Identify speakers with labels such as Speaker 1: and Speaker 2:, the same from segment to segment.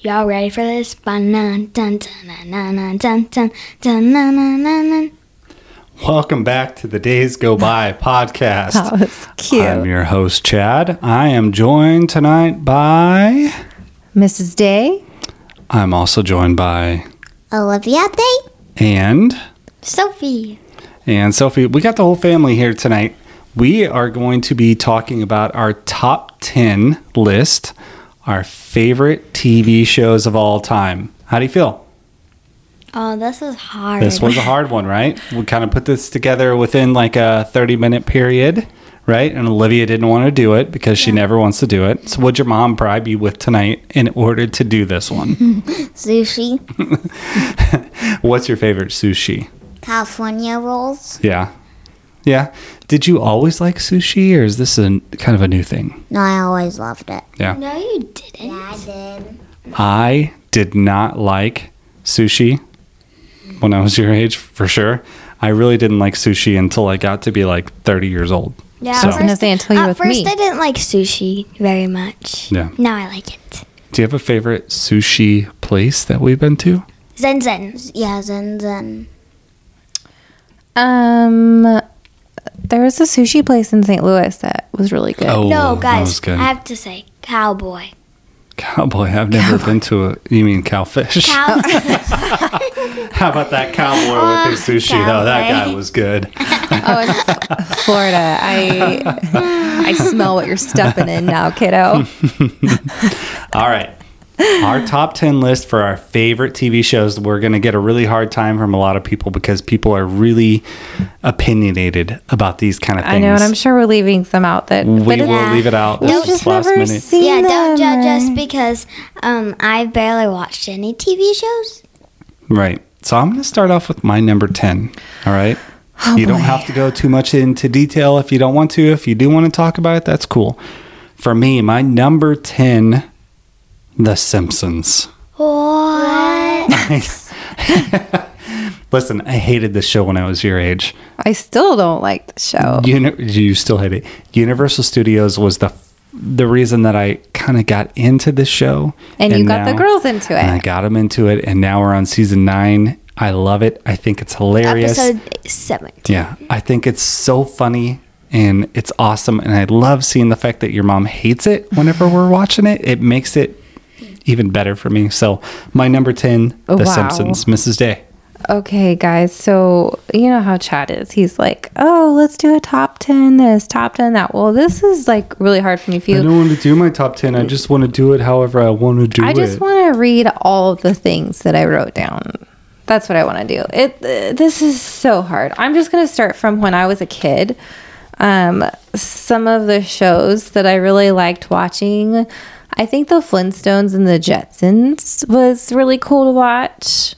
Speaker 1: Y'all ready for this? Ba-na, dun, dun, na, na, na, dun, dun, dun, na, na, na, na.
Speaker 2: Welcome back to the Days Go By podcast.
Speaker 3: That was cute.
Speaker 2: I'm your host, Chad. I am joined tonight by.
Speaker 3: Mrs. Day?
Speaker 2: I'm also joined by.
Speaker 1: Olivia Day?
Speaker 2: And.
Speaker 1: Sophie.
Speaker 2: And Sophie, we got the whole family here tonight. We are going to be talking about our top 10 list, our favorite TV shows of all time. How do you feel?
Speaker 1: Oh, this is hard.
Speaker 2: This was a hard one, right? We kind of put this together within like a 30 minute period, right? And Olivia didn't want to do it because she never wants to do it. So, what'd your mom bribe you with tonight in order to do this one?
Speaker 4: sushi,
Speaker 2: What's your favorite sushi?
Speaker 4: California rolls.
Speaker 2: Yeah. Yeah. Did you always like sushi or is this a kind of a new thing?
Speaker 4: No, I always loved it.
Speaker 2: Yeah.
Speaker 1: No, you didn't.
Speaker 4: I did.
Speaker 2: I did not like sushi when I was your age, for sure. I really didn't like sushi until I got to be like 30 years old.
Speaker 1: Yeah, at
Speaker 2: So- I was gonna
Speaker 1: first-
Speaker 3: say, until you
Speaker 1: at
Speaker 3: were with
Speaker 1: first
Speaker 3: me.
Speaker 1: I didn't like sushi very much.
Speaker 2: Yeah.
Speaker 1: Now I like it.
Speaker 2: Do you have a favorite sushi place that we've been to?
Speaker 1: Zen Zen.
Speaker 4: Yeah, Zen Zen.
Speaker 3: Um, there was a sushi place in St. Louis that was really good.
Speaker 2: Oh.
Speaker 1: no,
Speaker 2: that
Speaker 1: guys,
Speaker 2: was
Speaker 1: I
Speaker 2: good.
Speaker 1: have to say, cowboy.
Speaker 2: cowboy. I've never been to a. You mean cowfish?
Speaker 1: Cow-
Speaker 3: Oh.
Speaker 2: How about that cowboy with his sushi? Though that guy
Speaker 1: Oh, cowboy.
Speaker 2: was good.
Speaker 3: Oh, in Florida. I I smell what you're stuffing in now, kiddo.
Speaker 2: Hmm. All right. Our top 10 list for our favorite TV shows. We're going to get a really hard time from a lot of people because people are really opinionated about these kind of things.
Speaker 3: I know, and I'm sure we're leaving some out that
Speaker 2: we
Speaker 3: but
Speaker 2: will
Speaker 3: it's-
Speaker 2: leave it out.
Speaker 3: we've
Speaker 2: This
Speaker 3: just
Speaker 2: is last
Speaker 3: never
Speaker 2: minute.
Speaker 3: seen
Speaker 1: yeah, don't
Speaker 3: them.
Speaker 1: judge us because um, I barely watched any TV shows.
Speaker 2: Right. So I'm going to start off with my number 10. All right.
Speaker 3: Oh,
Speaker 2: you don't have to go too much into detail if you don't want to. If you do want to talk about it, that's cool. For me, my number 10, The Simpsons.
Speaker 1: What?
Speaker 2: Listen, I hated this show when I was your age.
Speaker 3: I still don't like the show.
Speaker 2: Uni- you still hate it. Universal Studios was the the reason that I kind of got into this show.
Speaker 3: And you got the girls into it.
Speaker 2: And I got them into it, and now we're on season nine. I love it. I think it's hilarious.
Speaker 1: Episode 17.
Speaker 2: Yeah, I think it's so funny and it's awesome, and I love seeing the fact that your mom hates it whenever we're watching it. It makes it even better for me. So my number ten, The
Speaker 3: Oh, Wow.
Speaker 2: Simpsons, Mrs. Day.
Speaker 3: Okay, guys. So you know how Chad is. He's like, oh, let's do a top ten this, top ten that. Well, this is like really hard for me. If you
Speaker 2: I don't want to do my top ten. I just want to do it however I want to do
Speaker 3: I
Speaker 2: it.
Speaker 3: just want to read all of the things that I wrote down. That's what I want to do. It uh, this is so hard. I'm just going to start from when I was a kid. Um, some of the shows that I really liked watching. I think the Flintstones and the Jetsons was really cool to watch.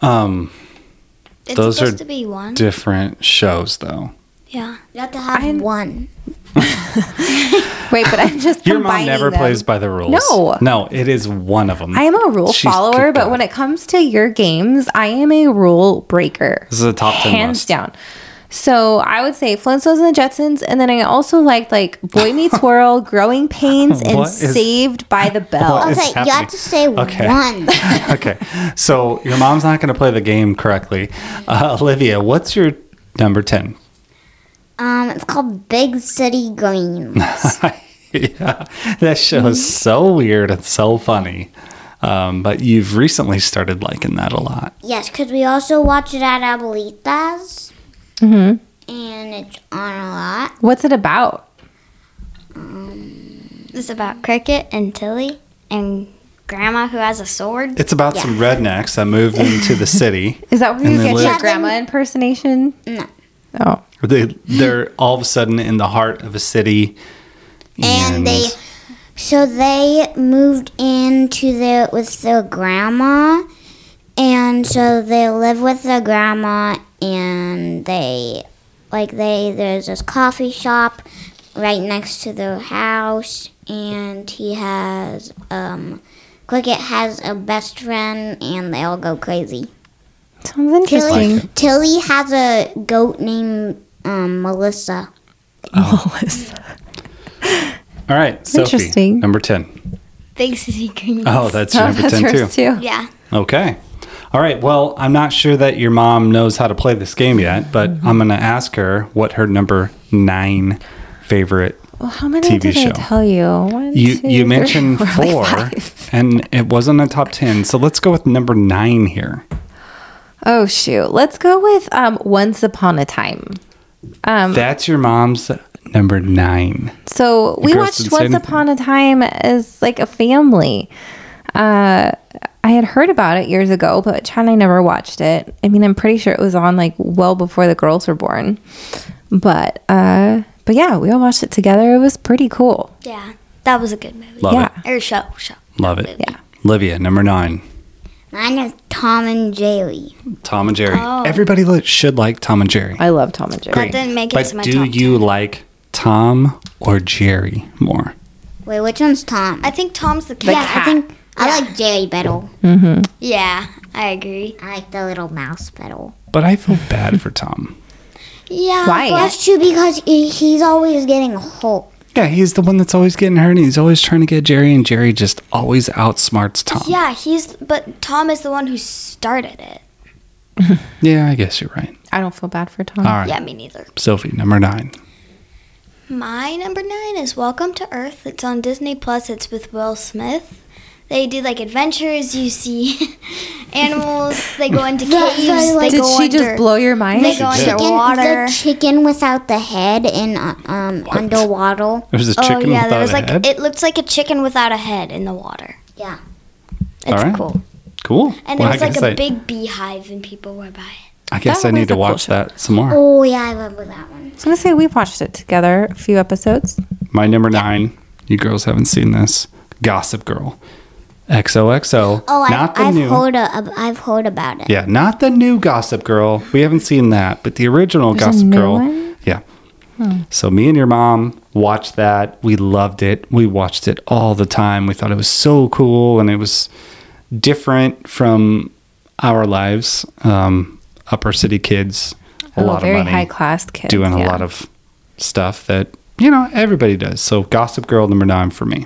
Speaker 2: um.
Speaker 1: It's
Speaker 2: Those
Speaker 1: supposed
Speaker 2: are
Speaker 1: to be one.
Speaker 2: different shows though.
Speaker 1: yeah.
Speaker 4: You have to have
Speaker 3: I'm-
Speaker 4: one.
Speaker 3: Wait, but I'm just
Speaker 2: Your mom
Speaker 3: combining
Speaker 2: never
Speaker 3: them.
Speaker 2: plays by the rules.
Speaker 3: No.
Speaker 2: No, it is one of them.
Speaker 3: I am a rule
Speaker 2: She's
Speaker 3: follower,
Speaker 2: kicked
Speaker 3: but
Speaker 2: out.
Speaker 3: when it comes to your games, I am a rule breaker.
Speaker 2: This is a top 10
Speaker 3: hands
Speaker 2: list.
Speaker 3: down. So I would say Flintstones and the Jetsons, and then I also liked like Boy Meets World, Growing Pains, and
Speaker 2: What is-
Speaker 3: Saved by the
Speaker 2: What
Speaker 3: Bell.
Speaker 2: is-
Speaker 4: Okay, you
Speaker 2: Oh, happening.
Speaker 4: have to say
Speaker 2: Okay.
Speaker 4: one.
Speaker 2: okay. So your mom's not going to play the game correctly. Uh, Olivia, what's your number 10?
Speaker 4: Um, it's called Big City Greens.
Speaker 2: yeah. That show is
Speaker 3: Mm-hmm.
Speaker 2: so weird and so funny. Um, but you've recently started liking that a lot.
Speaker 4: yes, because we also watch it at Abuelita's. Mm-hmm. And it's on a lot.
Speaker 3: What's it about?
Speaker 1: It's about Cricket and Tilly and Grandma who has a sword.
Speaker 2: It's about some rednecks that moved into the city.
Speaker 3: Is that where
Speaker 2: And
Speaker 3: you
Speaker 2: they
Speaker 3: get your
Speaker 2: live-
Speaker 3: grandma impersonation?
Speaker 4: No.
Speaker 3: Oh,
Speaker 2: They, they're all of a sudden in the heart of a city.
Speaker 4: And they, so they moved into their with their grandma, and so they live with their grandma, and they, like they, there's this coffee shop right next to their house, and he has, um, Cricket has a best friend, and they all go crazy.
Speaker 3: sounds interesting.
Speaker 4: Tilly, Tilly has a goat named um, Melissa.
Speaker 3: Melissa.
Speaker 2: All right, Sophie,
Speaker 3: Interesting.
Speaker 2: number 10.
Speaker 1: Big City Greens.
Speaker 2: Oh, that's
Speaker 3: Oh,
Speaker 2: your number
Speaker 3: that's
Speaker 2: 10 too.
Speaker 3: yours too.
Speaker 1: yeah.
Speaker 2: Okay. All right. Well, I'm not sure that your mom knows how to play this game yet, but
Speaker 3: Mm-hmm.
Speaker 2: I'm going to ask her what her number nine favorite.
Speaker 3: Well, how many
Speaker 2: TV
Speaker 3: did
Speaker 2: show.
Speaker 3: I tell you? One,
Speaker 2: You
Speaker 3: two,
Speaker 2: you
Speaker 3: three,
Speaker 2: mentioned
Speaker 3: four, like
Speaker 2: four,
Speaker 3: five.
Speaker 2: and it wasn't a top ten. So let's go with number nine here.
Speaker 3: Oh shoot! Let's go with um, Once Upon a Time. Um,
Speaker 2: That's your mom's number nine.
Speaker 3: so we
Speaker 2: Kirsten
Speaker 3: watched
Speaker 2: say
Speaker 3: Once
Speaker 2: anything?
Speaker 3: Upon a Time as like a family. Uh, I had heard about it years ago, but Chad and I never watched it. I mean, I'm pretty sure it was on like well before the girls were born. But uh, but yeah, we all watched it together. It was pretty cool.
Speaker 1: Yeah. That was a good movie.
Speaker 2: Love
Speaker 3: yeah.
Speaker 2: it.
Speaker 1: Or show. Show.
Speaker 2: Love it.
Speaker 1: Yeah.
Speaker 2: Olivia, number nine.
Speaker 4: Mine is Tom and Jerry.
Speaker 2: Tom and Jerry.
Speaker 1: Oh.
Speaker 2: Everybody li- should like Tom and Jerry.
Speaker 3: I love Tom and Jerry.
Speaker 1: That didn't make it
Speaker 2: but
Speaker 1: to my
Speaker 2: do
Speaker 1: top
Speaker 2: you like Tom or Jerry more?
Speaker 4: Wait, which one's Tom?
Speaker 1: I think Tom's the
Speaker 4: yeah,
Speaker 1: cat.
Speaker 4: I think I like Jerry better.
Speaker 1: Yeah, I agree.
Speaker 4: I like the little mouse better.
Speaker 2: But I feel bad for Tom.
Speaker 1: Yeah.
Speaker 3: Why?
Speaker 4: That's true because he- he's always getting hurt.
Speaker 2: Yeah, he's the one that's always getting hurt and he's always trying to get Jerry, and Jerry just always outsmarts Tom.
Speaker 1: Yeah, he's but Tom is the one who started it.
Speaker 2: Yeah, I guess you're right.
Speaker 3: I don't feel bad for Tom.
Speaker 2: All right.
Speaker 1: Yeah, me neither.
Speaker 2: Sophie, number nine.
Speaker 1: My number nine is Welcome to Earth. It's on Disney Plus. It's with Will Smith. They do like adventures. You see animals. They go into
Speaker 4: That's
Speaker 1: caves.
Speaker 4: what I
Speaker 1: They
Speaker 4: like.
Speaker 3: Did
Speaker 1: go
Speaker 3: she
Speaker 1: under.
Speaker 3: just blow your mind?
Speaker 1: They go
Speaker 2: She did.
Speaker 4: Chicken,
Speaker 1: underwater.
Speaker 4: the chicken without the head in uh, um underwater.
Speaker 2: There's a
Speaker 1: Mm, Oh
Speaker 2: chicken
Speaker 1: yeah,
Speaker 2: without
Speaker 1: there was
Speaker 2: a
Speaker 1: like
Speaker 2: head.
Speaker 1: it looks like a chicken without a head in the water.
Speaker 4: Yeah.
Speaker 1: It's
Speaker 2: Alright.
Speaker 1: cool.
Speaker 2: cool.
Speaker 1: And there
Speaker 2: Well,
Speaker 1: was
Speaker 2: I
Speaker 1: like
Speaker 2: guess
Speaker 1: a
Speaker 2: I-
Speaker 1: big beehive and people were by it.
Speaker 2: I guess
Speaker 3: That
Speaker 2: I
Speaker 3: was
Speaker 2: need to
Speaker 3: a cool
Speaker 2: watch
Speaker 3: show.
Speaker 2: that some more.
Speaker 4: Oh yeah, I remember that one.
Speaker 3: I was gonna say we watched it together a few episodes.
Speaker 2: My number nine. You girls haven't seen this. Gossip Girl. XOXO.
Speaker 4: Oh,
Speaker 2: not
Speaker 4: I've,
Speaker 2: the
Speaker 4: I've
Speaker 2: new.
Speaker 4: heard a, ab- I've heard about it.
Speaker 2: yeah, not the new Gossip Girl. We haven't seen that, but the original
Speaker 3: There's a
Speaker 2: Gossip
Speaker 3: new
Speaker 2: Girl.
Speaker 3: one? Hmm.
Speaker 2: Yeah. So me and your mom watched that. We loved it. We watched it all the time. We thought it was so cool and it was different from our lives. Um, upper city kids, a
Speaker 3: Oh,
Speaker 2: lot
Speaker 3: very
Speaker 2: of money,
Speaker 3: high class kids.
Speaker 2: doing a
Speaker 3: yeah.
Speaker 2: lot of stuff that you know everybody does. So Gossip Girl number nine for me.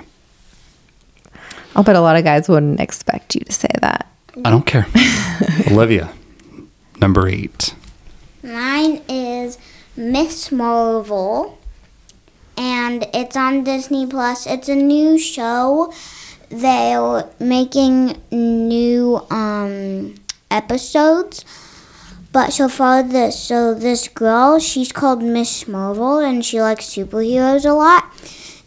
Speaker 3: I'll bet a lot of guys wouldn't expect you to say that.
Speaker 2: I don't care. Olivia, number eight.
Speaker 4: Mine is Miss Marvel, and it's on Disney Plus. It's a new show. They're making new um, episodes, but so far this so this girl she's called Miss Marvel, and she likes superheroes a lot.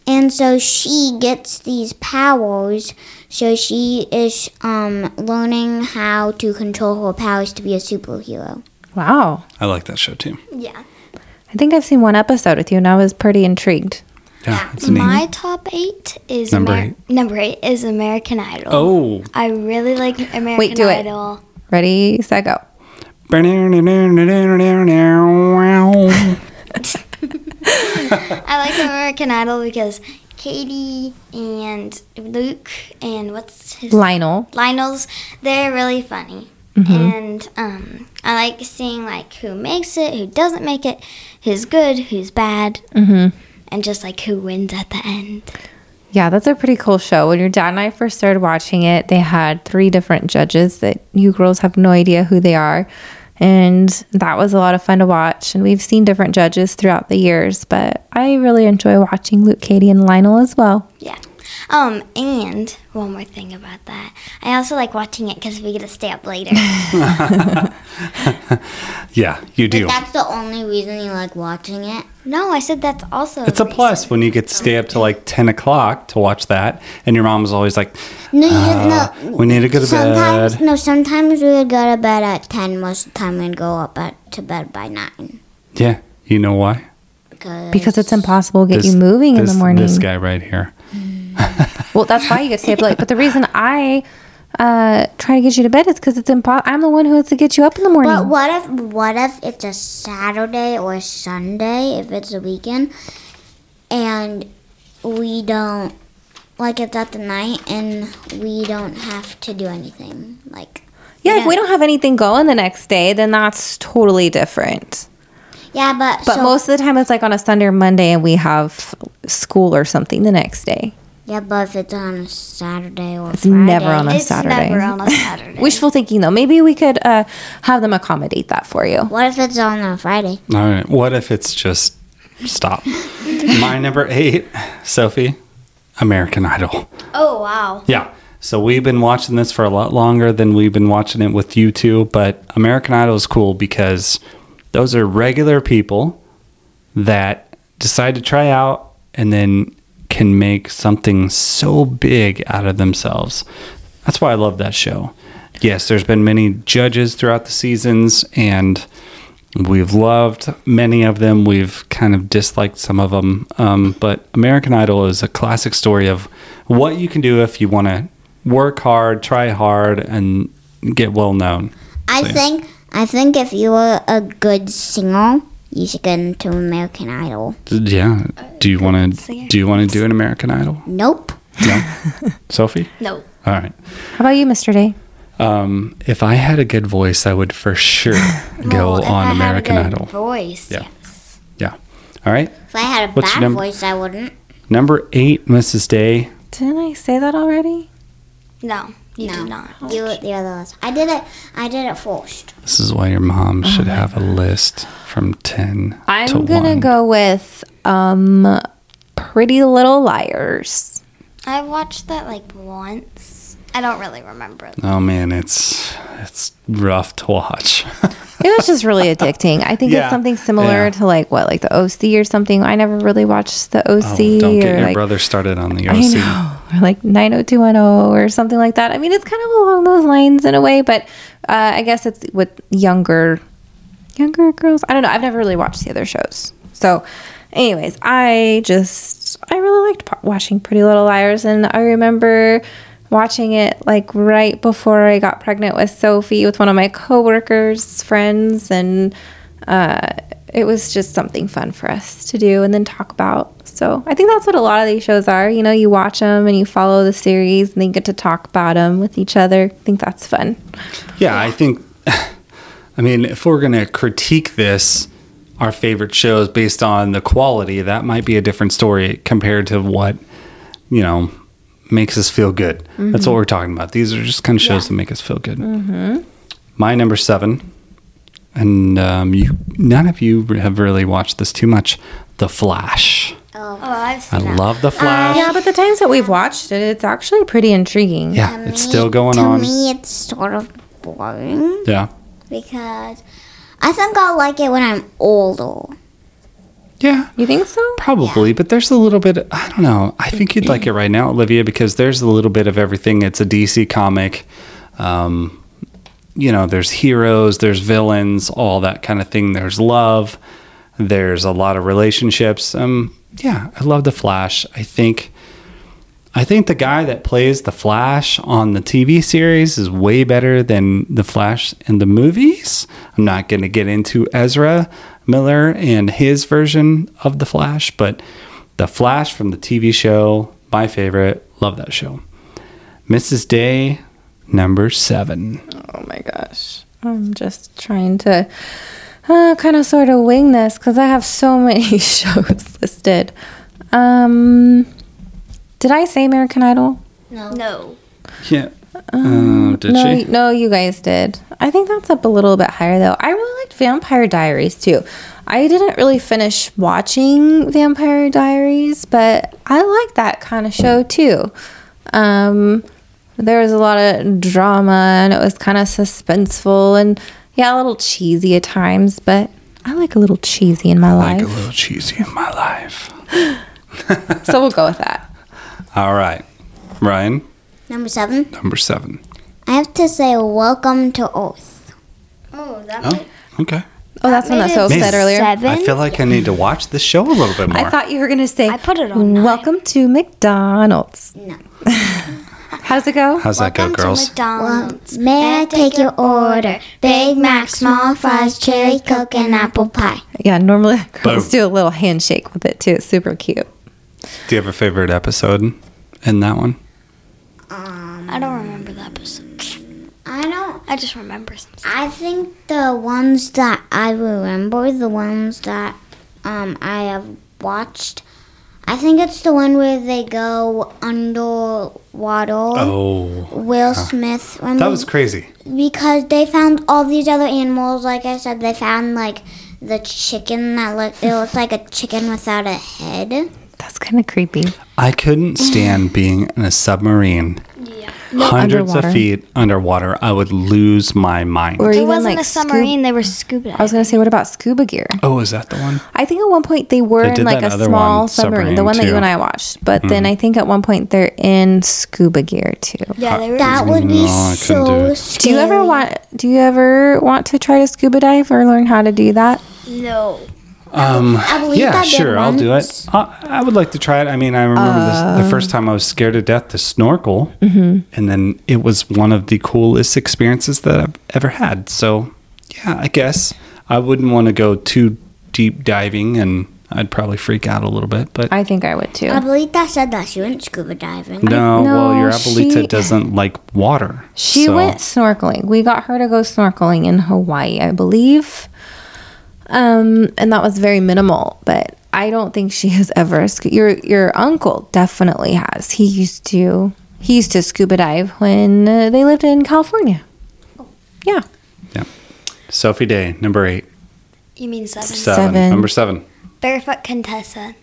Speaker 4: And so she gets these powers. So she is um, learning how to control her powers to be a superhero.
Speaker 3: Wow.
Speaker 2: I like that show too.
Speaker 1: Yeah.
Speaker 3: I think I've seen one episode with you and I was pretty intrigued.
Speaker 2: Yeah, it's neat.
Speaker 1: My top eight is
Speaker 2: Number
Speaker 1: Amer- number eight is American Idol.
Speaker 2: Oh,
Speaker 1: I really like American
Speaker 3: do it.
Speaker 1: Idol.
Speaker 3: Ready, set, go.
Speaker 2: That's
Speaker 1: I like American Idol because Katie and Luke and what's his
Speaker 3: Lionel.
Speaker 1: Lionel's they're really funny.
Speaker 2: Mm-hmm.
Speaker 1: And um, I like seeing like who makes it, who doesn't make it, who's good, who's bad,
Speaker 3: Mm-hmm.
Speaker 1: and just like who wins at the end.
Speaker 3: Yeah, that's a pretty cool show. When your dad and I first started watching it, they had three different judges that you girls have no idea who they are. And that was a lot of fun to watch. And we've seen different judges throughout the years, but I really enjoy watching Luke, Katie, and Lionel as well.
Speaker 1: Yeah. Um, and one more thing about that, I also like watching it because we get to stay up later.
Speaker 2: yeah, you do.
Speaker 4: That's the only reason you like watching it.
Speaker 1: no, I said that's also.
Speaker 2: It's a
Speaker 1: reason.
Speaker 2: plus when you get to stay up to like ten o'clock to watch that, and your mom's always like,
Speaker 4: No, you,
Speaker 2: "Uh,
Speaker 4: no.
Speaker 2: "We need to go to
Speaker 4: Sometimes
Speaker 2: bed."
Speaker 4: no. Sometimes we would go to bed at ten. Most of the time we'd go up at, to bed by nine
Speaker 2: Yeah, you know why?
Speaker 4: because
Speaker 3: Because it's impossible to get you moving in
Speaker 2: this-
Speaker 3: the morning.
Speaker 2: This guy right here.
Speaker 3: Well, that's why you get to stay up late. But the reason I uh, try to get you to bed is because it's impossible. I'm the one who has to get you up in the morning.
Speaker 4: But what if what if it's a Saturday or Sunday if it's a weekend, and we don't like it's at the night and we don't have to do anything like.
Speaker 3: yeah, if we don't have anything going the next day, then that's totally different.
Speaker 4: Yeah, but,
Speaker 3: But
Speaker 4: so,
Speaker 3: most of the time, it's like on a Sunday or Monday, and we have school or something the next day.
Speaker 4: Yeah, but if it's on a Saturday or
Speaker 3: It's never on a
Speaker 1: It's
Speaker 3: Saturday.
Speaker 1: never on a Saturday.
Speaker 3: Wishful thinking, though. Maybe we could uh, have them accommodate that for you.
Speaker 4: What if it's on a Friday?
Speaker 2: All right. What if it's just stop? My number eight, Sophie, American Idol.
Speaker 1: oh wow.
Speaker 2: Yeah. So we've been watching this for a lot longer than we've been watching it with you two, but American Idol is cool because those are regular people that decide to try out and then can make something so big out of themselves. That's why I love that show. Yes, there's been many judges throughout the seasons and we've loved many of them. We've kind of disliked some of them. Um, but American Idol is a classic story of what you can do if you want to work hard, try hard, and get well known.
Speaker 4: I
Speaker 2: So, yeah.
Speaker 4: think I think if you were a good singer, you should get into American Idol.
Speaker 2: Yeah.
Speaker 1: Uh,
Speaker 2: Do you want to? Do you want to do an American Idol?
Speaker 4: Nope.
Speaker 2: No. Sophie.
Speaker 1: No.
Speaker 2: All right.
Speaker 3: How about you, Mr. Day?
Speaker 2: Um, if I had a good voice, I would for sure go
Speaker 1: Well, if I
Speaker 2: on
Speaker 1: had a
Speaker 2: American
Speaker 1: good
Speaker 2: Idol.
Speaker 1: Voice.
Speaker 2: Yeah.
Speaker 1: yes.
Speaker 2: Yeah. All right.
Speaker 4: If I had a
Speaker 2: What's your
Speaker 4: bad
Speaker 2: num-
Speaker 4: voice, I wouldn't.
Speaker 2: Number eight, Mrs. Day.
Speaker 3: Didn't I say that already?
Speaker 1: No, you do not.
Speaker 4: You the other ones. I did it. I did it first.
Speaker 2: This is why your
Speaker 1: Oh
Speaker 2: mom should have a list from 10 to
Speaker 3: I'm
Speaker 2: 1.
Speaker 3: going to go with um, Pretty Little Liars.
Speaker 1: I watched that like once. I don't really remember it.
Speaker 2: Oh man, it's it's rough to watch.
Speaker 3: It was just really addicting. I think
Speaker 2: Yeah.
Speaker 3: it's something similar
Speaker 2: Yeah.
Speaker 3: to like what, like the OC or something. I never really watched the OC.
Speaker 2: Oh, don't
Speaker 3: or
Speaker 2: get your
Speaker 3: like,
Speaker 2: brother started on the
Speaker 3: I
Speaker 2: OC.
Speaker 3: know, or like 90210 or something like that. I mean, it's kind of along those lines in a way, but uh, I guess it's with younger younger girls. I don't know. I've never really watched the other shows. So, anyways, I just I really liked po- watching Pretty Little Liars, and I remember watching it like right before I got pregnant with Sophie with one of my coworkers' friends, and uh, it was just something fun for us to do and then talk about. So I think that's what a lot of these shows are. You know, you watch them and you follow the series, and then you get to talk about them with each other. I think that's fun.
Speaker 2: Yeah, I think I mean, if we're going to critique this our favorite shows based on the quality, that might be a different story compared to what, you know, makes us feel good. That's
Speaker 4: Mm-hmm.
Speaker 2: what we're talking about. These are just kind of shows that make us feel good. My number 7 and um, you none of you have really watched this too much, The Flash.
Speaker 1: Oh,
Speaker 4: Um,
Speaker 1: I've
Speaker 2: I
Speaker 1: seen that.
Speaker 2: love The Flash.
Speaker 3: Yeah, but the times that we've watched it, it's actually pretty intriguing.
Speaker 2: Yeah, it's still going
Speaker 4: to
Speaker 2: on.
Speaker 4: me, it's sort of boring
Speaker 2: Yeah.
Speaker 4: because I think I'll like it when I'm older.
Speaker 2: Yeah,
Speaker 3: You think so?
Speaker 2: probably, but there's a little bit I don't know. I think you'd like it right now, Olivia, because there's a little bit of everything. It's a DC comic. Um you know, there's heroes, there's villains, all that kind of thing. There's love. There's a lot of relationships. Um yeah, I love the Flash. I think I think the guy that plays the Flash on the TV series is way better than the Flash in the movies. I'm not going to get into Ezra Miller and his version of the Flash, but the Flash from the TV show, my favorite. Love that show. Mrs. Day, number seven.
Speaker 3: Oh my gosh. I'm just trying to uh, kind of sort of wing this because I have so many shows listed. Um, did I say American Idol?
Speaker 1: No.
Speaker 2: Yeah. Oh, did
Speaker 3: no,
Speaker 2: she?
Speaker 3: y- no, you guys did. I think that's up a little bit higher though. I really liked Vampire Diaries too. I didn't really finish watching Vampire Diaries, but I like that kind of show too. Um, there was a lot of drama and it was kind of suspenseful and yeah, a little cheesy at times, but I like a little cheesy in my
Speaker 2: Like a
Speaker 3: life.
Speaker 2: little cheesy in my life.
Speaker 3: so we'll go with that.
Speaker 2: All right. Ryan,
Speaker 4: Number seven,
Speaker 2: number seven.
Speaker 4: I have to say, welcome to Earth.
Speaker 1: Oh, that
Speaker 2: Oh, okay.
Speaker 3: Oh, that's one that
Speaker 1: made it
Speaker 3: Soph said
Speaker 2: Miss-
Speaker 3: earlier.
Speaker 1: Seven.
Speaker 2: I feel like I need to watch this show a little bit more.
Speaker 3: I thought you were going to say,
Speaker 1: I put it on nine.
Speaker 3: Welcome to McDonald's.
Speaker 4: No.
Speaker 3: How's it go?
Speaker 2: How's that go,
Speaker 1: Welcome
Speaker 2: girls?
Speaker 1: To McDonald's.
Speaker 4: May I take your order? Big Mac, small fries, cherry coke, and apple pie.
Speaker 3: Yeah, normally girls
Speaker 2: Boom.
Speaker 3: do a little handshake with it too. It's super cute.
Speaker 2: Do you have a favorite episode in that one?
Speaker 1: I don't remember the episode.
Speaker 4: I don't.
Speaker 1: I just remember some stuff.
Speaker 4: I think the ones that I remember, the ones that um I have watched, I think it's the one where they go underwater.
Speaker 2: Oh,
Speaker 4: Will Smith.
Speaker 2: that was crazy.
Speaker 4: because they found all these other animals. Like I said, they found like the chicken that looked. It looked like a chicken without a head.
Speaker 3: That's kind of creepy.
Speaker 2: I couldn't stand being in a submarine. Hundreds
Speaker 3: underwater.
Speaker 2: of feet underwater. I would lose my mind.
Speaker 3: Or
Speaker 1: It
Speaker 3: even
Speaker 1: wasn't
Speaker 3: like
Speaker 1: a
Speaker 3: scuba-
Speaker 1: submarine, they were scuba
Speaker 3: I was gonna say, what about scuba gear?
Speaker 2: oh, is that the one?
Speaker 3: I think at one point they were
Speaker 2: They
Speaker 3: in
Speaker 2: did
Speaker 3: like
Speaker 2: that
Speaker 3: a
Speaker 2: other
Speaker 3: small
Speaker 2: one,
Speaker 3: submarine,
Speaker 2: submarine,
Speaker 3: the one that you
Speaker 2: too. Mm-hmm.
Speaker 3: and I watched. But then I think at one point they're in scuba gear too.
Speaker 1: Yeah, they were.
Speaker 4: That would
Speaker 2: No,
Speaker 4: be
Speaker 2: I couldn't do
Speaker 4: so
Speaker 2: it.
Speaker 4: scary.
Speaker 3: Do you ever want? Do you ever want to try to scuba dive or learn how to do that?
Speaker 1: no.
Speaker 4: I believe
Speaker 2: Yeah,
Speaker 4: I did
Speaker 2: sure. I'll do
Speaker 4: once.
Speaker 2: it. I, I would like to try it. I mean, I remember this,
Speaker 3: Uh.
Speaker 2: the first time I was scared to death to snorkel,
Speaker 3: Mm-hmm.
Speaker 2: and then it was one of the coolest experiences that I've ever had. So, yeah, I guess I wouldn't want to go too deep diving, and I'd probably freak out a little bit. But
Speaker 3: I think I would too.
Speaker 4: Abuelita said that she went scuba diving.
Speaker 2: no, well,
Speaker 3: no,
Speaker 2: your abuelita
Speaker 3: she-
Speaker 2: doesn't like water.
Speaker 3: She
Speaker 2: so-
Speaker 3: went snorkeling. We got her to go snorkeling in Hawaii, I believe. Um, and that was very minimal, but I don't think she has ever. scu- Your your uncle definitely has. He used to he used to scuba dive when uh, they lived in California. Yeah,
Speaker 2: Sophie Day, number eight,
Speaker 1: You mean seven?
Speaker 2: seven,
Speaker 3: Seven.
Speaker 2: number seven.
Speaker 1: Barefoot Contessa.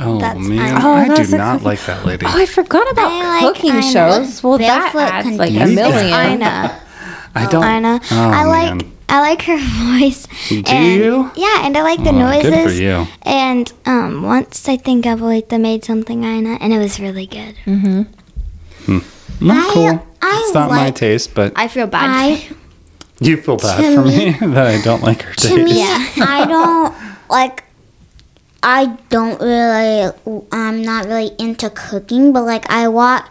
Speaker 2: Oh
Speaker 1: That's-
Speaker 2: man,
Speaker 1: I-
Speaker 3: Oh,
Speaker 2: I
Speaker 3: that's
Speaker 2: do
Speaker 3: a
Speaker 2: not
Speaker 3: cr-
Speaker 2: like that lady.
Speaker 3: Oh, I forgot about
Speaker 4: I like
Speaker 3: cooking
Speaker 4: Ina.
Speaker 3: shows. Well, that
Speaker 4: Barefoot
Speaker 3: adds like a
Speaker 2: Contessa.
Speaker 3: million.
Speaker 1: Ina.
Speaker 2: I don't.
Speaker 1: Ina.
Speaker 2: Oh,
Speaker 1: I like.
Speaker 2: man.
Speaker 1: I like her voice.
Speaker 2: Do
Speaker 1: and,
Speaker 2: you?
Speaker 1: Yeah, and I like the
Speaker 2: Oh, good for
Speaker 1: noises.
Speaker 2: you.
Speaker 1: And um, once I think Abuelita made something Ina, and it was really good.
Speaker 2: Mm,
Speaker 4: I-
Speaker 2: cool.
Speaker 4: I
Speaker 2: it's not my
Speaker 4: like-
Speaker 2: taste, but
Speaker 1: I feel bad.
Speaker 4: I
Speaker 2: You feel bad
Speaker 4: To
Speaker 2: for me that I don't like her
Speaker 4: to
Speaker 2: taste.
Speaker 4: me, I don't like. I don't really. I'm not really into cooking, but like I watch.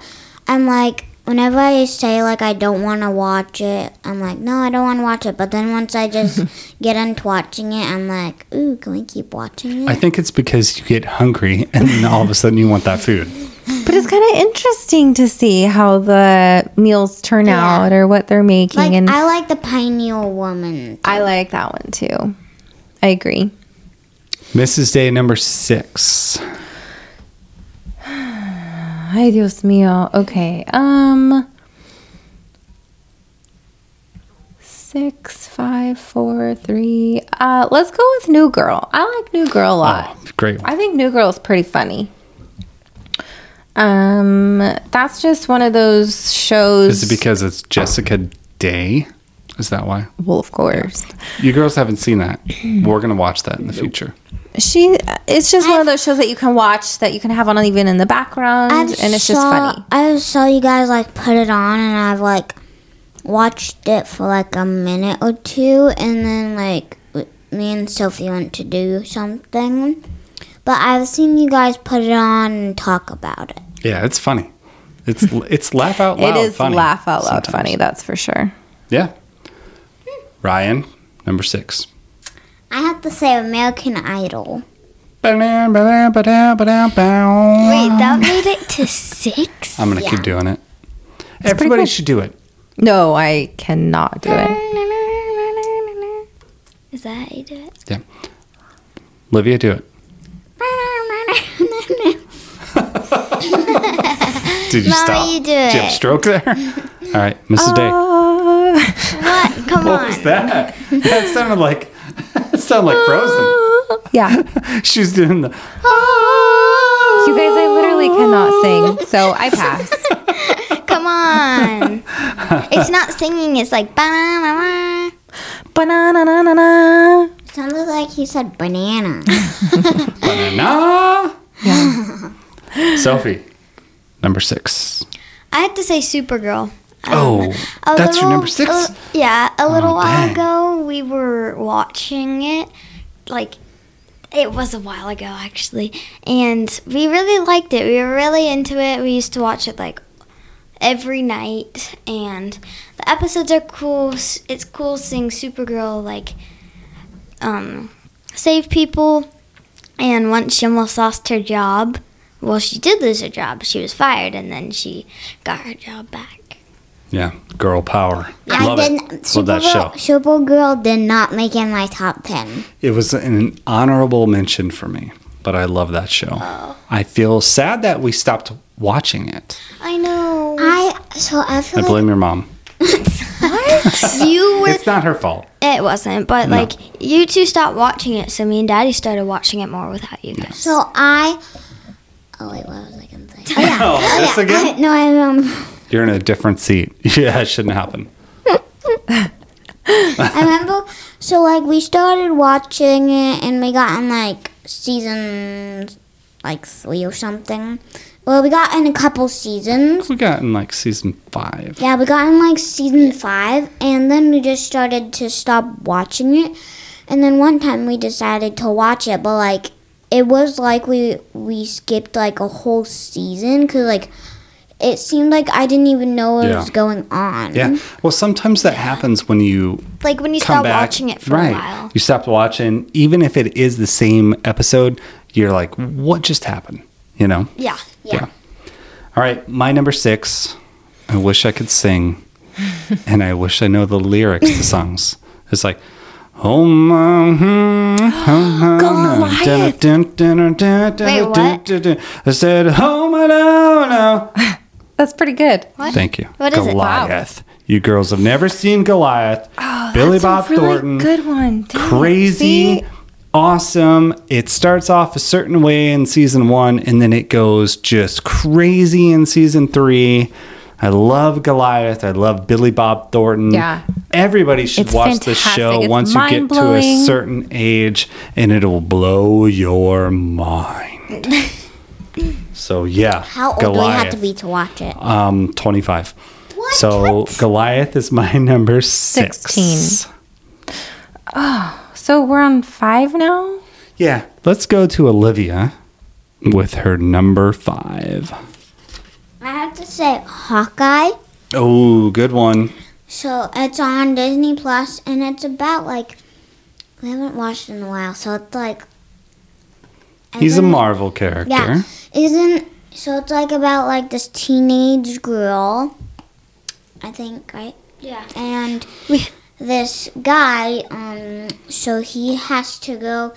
Speaker 4: I'm like whenever I say like I don't want to watch it, I'm like no, I don't want to watch it. But then once I just get into watching it, I'm like, ooh, can we keep watching
Speaker 2: I
Speaker 4: it?
Speaker 2: think it's because you get hungry and then all of a sudden you want that food.
Speaker 3: But it's kind of interesting to see how the meals turn
Speaker 4: Yeah.
Speaker 3: out or what they're making.
Speaker 4: Like
Speaker 3: and
Speaker 4: I like the Pineal Woman.
Speaker 3: I like that one too. I agree.
Speaker 2: Mrs. Day number six.
Speaker 3: Ay, Dios mío. Okay. Um. Six, five, four, three. Uh, let's go with New Girl. I like New Girl a lot.
Speaker 2: Oh, great.
Speaker 3: I think New Girl is pretty funny. Um, that's just one of those shows.
Speaker 2: Is it because it's Jessica Day? Is that why?
Speaker 3: well, of course,
Speaker 2: You girls haven't seen that. We're going to watch that in the future.
Speaker 3: she. It's just one of those shows that you can watch that you can have on even in the background, and it's just
Speaker 4: saw-
Speaker 3: funny.
Speaker 4: I saw you guys like put it on, and I've like watched it for like a minute or two, and then like w- me and Sophie went to do something. But I've seen you guys put it on and talk about it.
Speaker 2: Yeah, it's funny. It's it's laugh out
Speaker 3: It
Speaker 2: loud.
Speaker 3: is
Speaker 2: funny
Speaker 3: laugh out loud
Speaker 2: sometimes.
Speaker 3: funny. That's for sure.
Speaker 2: Yeah. Ryan number six.
Speaker 4: I have to say, American Idol.
Speaker 2: Ba-dam, ba-dam, ba-dam, ba-dam, bow.
Speaker 1: Wait, that made it to six.
Speaker 2: I'm going to keep doing it. Everybody should do it.
Speaker 3: No, I cannot do it.
Speaker 1: Is that how you do it?
Speaker 2: Yeah. Olivia, do it. Did you
Speaker 1: Mommy,
Speaker 2: stop?
Speaker 1: you Oh, do
Speaker 2: Did you have
Speaker 1: it.
Speaker 2: a stroke there? All right, Mrs. Day.
Speaker 1: What? Come
Speaker 2: What
Speaker 1: on.
Speaker 2: was that? That sounded like it sounded like Frozen.
Speaker 1: Oh.
Speaker 3: yeah, you
Speaker 2: She's doing the.
Speaker 1: Oh.
Speaker 3: guys, I literally cannot sing, so I pass.
Speaker 1: Come on. it's not singing. It's like ba-na-na-na.
Speaker 3: Banana, na, na, na.
Speaker 4: It sounded like you said banana.
Speaker 2: Banana. Sophie, number six.
Speaker 1: I had to say Supergirl.
Speaker 2: Oh,
Speaker 1: Um, A
Speaker 2: that's
Speaker 1: little-
Speaker 2: your
Speaker 1: uh,
Speaker 2: number six. Oh,
Speaker 1: a- yeah, a little while
Speaker 2: dang.
Speaker 1: ago we were watching it. Like, it was a while ago actually, and we really liked it. We were really into it. We used to watch it like every night, and the episodes are cool. S- It's cool seeing Supergirl like um, save people, and once she almost lost her job. Well, she did lose her job. She was fired, and then she got her job back.
Speaker 2: yeah, girl power. Love
Speaker 4: I
Speaker 2: it. Love that show.
Speaker 4: Supergirl, Supergirl did not make in my top ten.
Speaker 2: It was an honorable mention for me, but I love that show.
Speaker 1: Oh.
Speaker 2: I feel sad that we stopped watching it.
Speaker 1: I know.
Speaker 4: I so I feel
Speaker 2: I
Speaker 4: like
Speaker 2: blame your mom.
Speaker 1: You were.
Speaker 2: It's not her fault.
Speaker 1: It wasn't, but
Speaker 2: No.
Speaker 1: like you two stopped watching it, so me and Daddy started watching it more without you guys.
Speaker 4: so I. Oh wait, what was I gonna say? Oh, yeah.
Speaker 2: Oh, this
Speaker 4: I, no, I um,
Speaker 2: You're in a different seat. Yeah, it shouldn't happen.
Speaker 4: I remember. So like we started watching it, and we got in like season like three or something. Well, we got in a couple seasons.
Speaker 2: We got in like season five.
Speaker 4: Yeah, we got in like season five, and then we just started to stop watching it. And then one time we decided to watch it, but like it was like we we skipped like a whole season because like it seemed like I didn't even know what
Speaker 2: Yeah.
Speaker 4: was going on.
Speaker 2: Yeah. Well, sometimes that happens when you
Speaker 1: like when you
Speaker 2: come
Speaker 1: stop
Speaker 2: back.
Speaker 1: watching it for
Speaker 2: right.
Speaker 1: a while.
Speaker 2: You stopped watching, even if it is the same episode, you're like, what just happened? You know?
Speaker 1: Yeah.
Speaker 2: All right, my number six. I wish I could sing, and I wish I know the lyrics to songs. It's like, oh my, hmm, oh,
Speaker 3: Goliath.
Speaker 1: Wait, what?
Speaker 2: I said, oh my, no, no.
Speaker 3: That's pretty good.
Speaker 2: Thank you.
Speaker 1: What is it? Wow.
Speaker 2: Goliath. You girls have never seen Goliath. Billy
Speaker 3: That's a
Speaker 2: Bob
Speaker 3: really
Speaker 2: Thornton
Speaker 3: Good one. Dang,
Speaker 2: crazy,
Speaker 3: see?
Speaker 2: awesome. It starts off a certain way in season one, and then it goes just crazy in season three. I love Goliath. I love Billy Bob Thornton.
Speaker 3: Yeah.
Speaker 2: Everybody should
Speaker 3: It's
Speaker 2: watch this
Speaker 3: fantastic.
Speaker 2: show
Speaker 3: It's
Speaker 2: once you get to a
Speaker 3: mind-blowing.
Speaker 2: certain age, and it'll blow your mind. so, yeah.
Speaker 4: How old do we have to be to watch it?
Speaker 2: Um, 25.
Speaker 4: What?
Speaker 2: So, Goliath is my number six.
Speaker 3: 16. So we're on five now.
Speaker 2: Yeah. Let's go to Olivia with her number five.
Speaker 4: I have to say Hawkeye.
Speaker 2: Oh, good one.
Speaker 4: So it's on Disney Plus, and it's about like we haven't watched in a while, so it's like.
Speaker 2: He's a
Speaker 4: Evan-
Speaker 2: Marvel character.
Speaker 4: Yeah. Isn't so it's like about like this teenage girl, I think, right?
Speaker 1: Yeah.
Speaker 4: And
Speaker 1: We-
Speaker 4: this guy, um, so he has to go.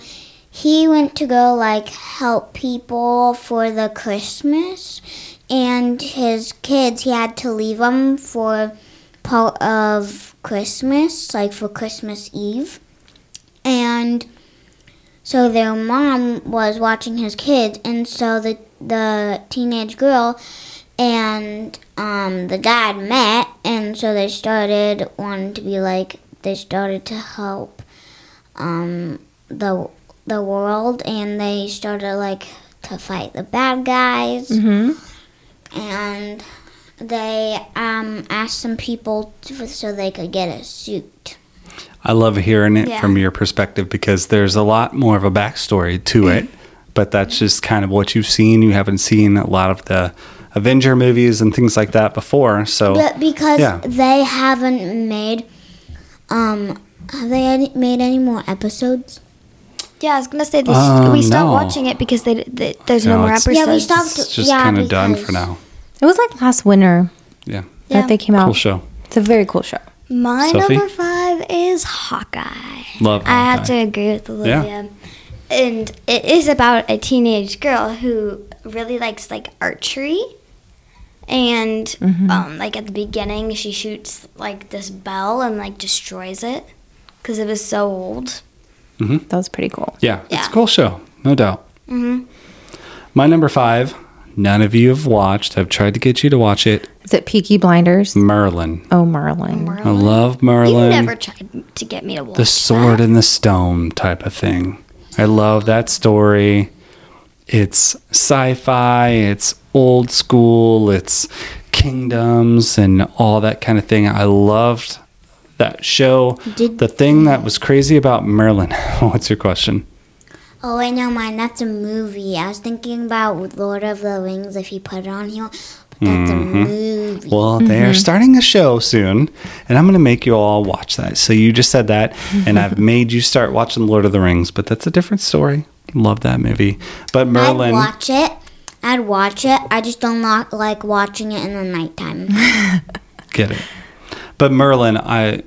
Speaker 4: He went to go like help people for the Christmas, and his kids he had to leave them for part of Christmas, like for Christmas Eve, and so their mom was watching his kids, and so the the teenage girl and um, the dad met, and so they started wanting to be like they started to help um, the the world, and they started like to fight the bad guys, and they um, asked some people to, so they could get a suit.
Speaker 2: I love hearing it
Speaker 1: Yeah.
Speaker 2: from your perspective because there's a lot more of a backstory to
Speaker 4: Mm-hmm.
Speaker 2: it, but that's just kind of what you've seen. You haven't seen a lot of the Avenger movies and things like that before. So,
Speaker 4: But because
Speaker 2: Yeah.
Speaker 4: they haven't made, um, have they any- made any more episodes?
Speaker 1: Yeah, I was gonna say this.
Speaker 2: Uh,
Speaker 1: we stopped
Speaker 2: no.
Speaker 1: watching it because they, they, there's no,
Speaker 2: No,
Speaker 1: more
Speaker 2: it's-
Speaker 1: episodes.
Speaker 4: Yeah, we stopped-
Speaker 2: it's just
Speaker 4: yeah,
Speaker 2: kind of done
Speaker 4: because-
Speaker 2: for now.
Speaker 3: It was like last winter
Speaker 2: Yeah.
Speaker 1: Yeah.
Speaker 3: that they came out.
Speaker 2: Cool show.
Speaker 3: It's a very cool show.
Speaker 1: My
Speaker 2: Sophie?
Speaker 1: number five is Hawkeye.
Speaker 2: Love
Speaker 1: I have
Speaker 2: Hawkeye.
Speaker 1: to agree with Olivia. And it is about a teenage girl who really likes like archery. And
Speaker 4: Mm-hmm.
Speaker 1: um, like at the beginning, she shoots like this bell and like destroys it because it was so old.
Speaker 3: That was pretty cool.
Speaker 2: Yeah, it's
Speaker 1: Yeah. Mm-hmm.
Speaker 2: a cool show, no doubt. My number five, none of you have watched. I've tried to get you to watch it.
Speaker 3: Is it Peaky Blinders?
Speaker 2: Mm. Merlin.
Speaker 3: Oh, Merlin.
Speaker 2: I love
Speaker 1: You
Speaker 2: Merlin.
Speaker 1: never tried to get me to watch
Speaker 2: the sword and the stone type of thing. I love that story. It's sci-fi. It's old school. It's kingdoms and all that kind of thing. I loved that show.
Speaker 4: Did-
Speaker 2: the thing that was crazy about Merlin. What's your question?
Speaker 4: Oh, wait, no, mine. That's a movie. I was thinking about Lord of the Rings if you put it on here, but that's
Speaker 2: Mm-hmm.
Speaker 4: a movie.
Speaker 2: Well, they're starting a show soon, and I'm going to make you all watch that. So you just said that, and I've made you start watching Lord of the Rings, but that's a different story. Love that movie. But
Speaker 4: I'd
Speaker 2: Merlin,
Speaker 4: watch it. I'd watch it. I just don't not like watching it in the nighttime.
Speaker 2: get it. But Merlin, I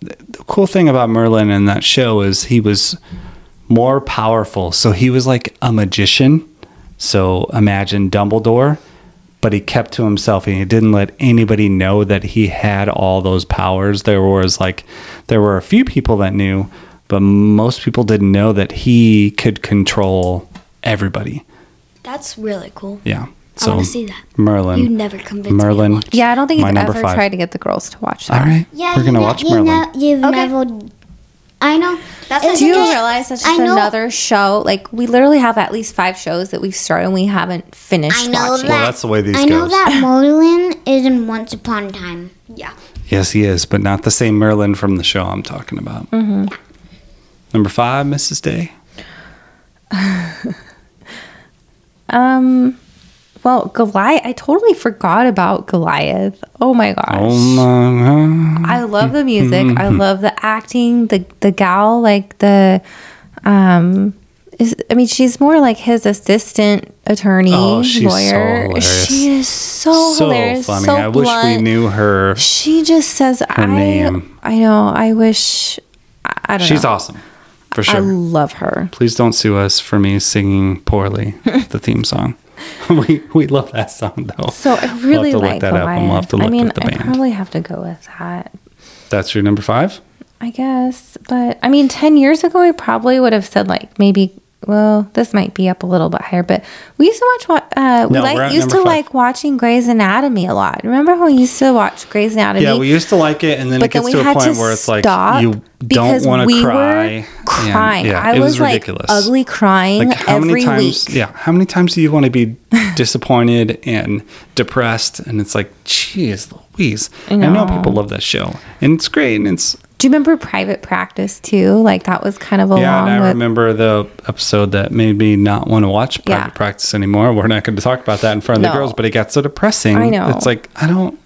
Speaker 2: the cool thing about Merlin in that show is he was more powerful. So he was like a magician. So imagine Dumbledore, but he kept to himself and he didn't let anybody know that he had all those powers. There was like there were a few people that knew, but most people didn't know that he could control everybody.
Speaker 1: That's really cool.
Speaker 2: Yeah.
Speaker 1: I
Speaker 2: So
Speaker 1: want to see that.
Speaker 2: Merlin.
Speaker 1: You never convinced
Speaker 2: Merlin.
Speaker 1: me. to watch
Speaker 3: Yeah, I don't think
Speaker 2: My
Speaker 3: you've
Speaker 2: number
Speaker 3: ever
Speaker 2: five.
Speaker 3: tried to get the girls to watch that.
Speaker 2: All right. We're
Speaker 4: you
Speaker 2: going to
Speaker 4: know-
Speaker 2: watch
Speaker 4: you
Speaker 2: Merlin.
Speaker 4: know- you've
Speaker 1: Okay.
Speaker 4: never. I know.
Speaker 1: That's
Speaker 4: Isn't
Speaker 3: Do you
Speaker 4: it-
Speaker 3: realize that's
Speaker 4: I
Speaker 3: just
Speaker 4: know-
Speaker 3: another show? Like we literally have at least five shows that we've started and we haven't finished
Speaker 4: I know
Speaker 3: watching.
Speaker 4: that.
Speaker 2: that's the way these
Speaker 4: I know
Speaker 2: goes.
Speaker 4: that Merlin is in Once Upon a Time.
Speaker 1: Yeah.
Speaker 2: Yes, he is, but not the same Merlin from the show I'm talking about.
Speaker 3: Mm-hmm.
Speaker 2: Number five, Mrs. Day.
Speaker 3: Um, well, Goliath. I totally forgot about Goliath. Oh my gosh.
Speaker 2: Um, uh,
Speaker 3: I love the music. I love the acting. The the gal, like the, um, is I mean, she's more like his assistant attorney
Speaker 2: Oh, she's so
Speaker 3: lawyer.
Speaker 2: hilarious.
Speaker 3: she is so,
Speaker 2: so
Speaker 3: hilarious.
Speaker 2: funny.
Speaker 3: So
Speaker 2: I wish
Speaker 3: blunt.
Speaker 2: we knew her.
Speaker 3: She just says, "I
Speaker 2: name.
Speaker 3: I know. I wish. I, I don't
Speaker 2: She's
Speaker 3: know.
Speaker 2: awesome, for
Speaker 3: I
Speaker 2: sure.
Speaker 3: love her.
Speaker 2: Please don't sue us for me singing poorly the theme song. we we love that song though.
Speaker 3: So I really
Speaker 2: we'll have to look
Speaker 3: like
Speaker 2: that up. and We'll have
Speaker 3: Goliath.
Speaker 2: to look
Speaker 3: I mean,
Speaker 2: at the
Speaker 3: I
Speaker 2: band.
Speaker 3: probably have to go with that.
Speaker 2: That's your number five.
Speaker 3: I guess, but I mean, 10 years ago, I probably would have said, like, maybe, well, this might be up a little bit higher, but we used to watch, wa- uh, we
Speaker 2: No, we're
Speaker 3: like,
Speaker 2: at
Speaker 3: used to
Speaker 2: number five.
Speaker 3: like watching Grey's Anatomy a lot. Remember when we used to watch Grey's Anatomy?
Speaker 2: Yeah, we used to like it, and then it
Speaker 3: but then
Speaker 2: gets
Speaker 3: we
Speaker 2: to a
Speaker 3: had
Speaker 2: point
Speaker 3: to
Speaker 2: where it's like
Speaker 3: stop
Speaker 2: you don't
Speaker 3: because
Speaker 2: want
Speaker 3: we
Speaker 2: to
Speaker 3: were
Speaker 2: cry. And,
Speaker 3: crying.
Speaker 2: yeah,
Speaker 3: I
Speaker 2: it
Speaker 3: was,
Speaker 2: was
Speaker 3: like
Speaker 2: ridiculous.
Speaker 3: ugly crying
Speaker 2: like how
Speaker 3: every
Speaker 2: many times
Speaker 3: week.
Speaker 2: yeah how many times do you want to be disappointed and depressed and it's like jeez louise I know. people love that show and it's great and it's
Speaker 3: Do you remember Private Practice too? Like that was kind of along
Speaker 2: yeah and i
Speaker 3: with
Speaker 2: remember the episode that made me not want to watch private
Speaker 3: Yeah.
Speaker 2: practice anymore we're not going to talk about that in front of
Speaker 3: No.
Speaker 2: the girls but it got so depressing
Speaker 3: I know.
Speaker 2: it's like i don't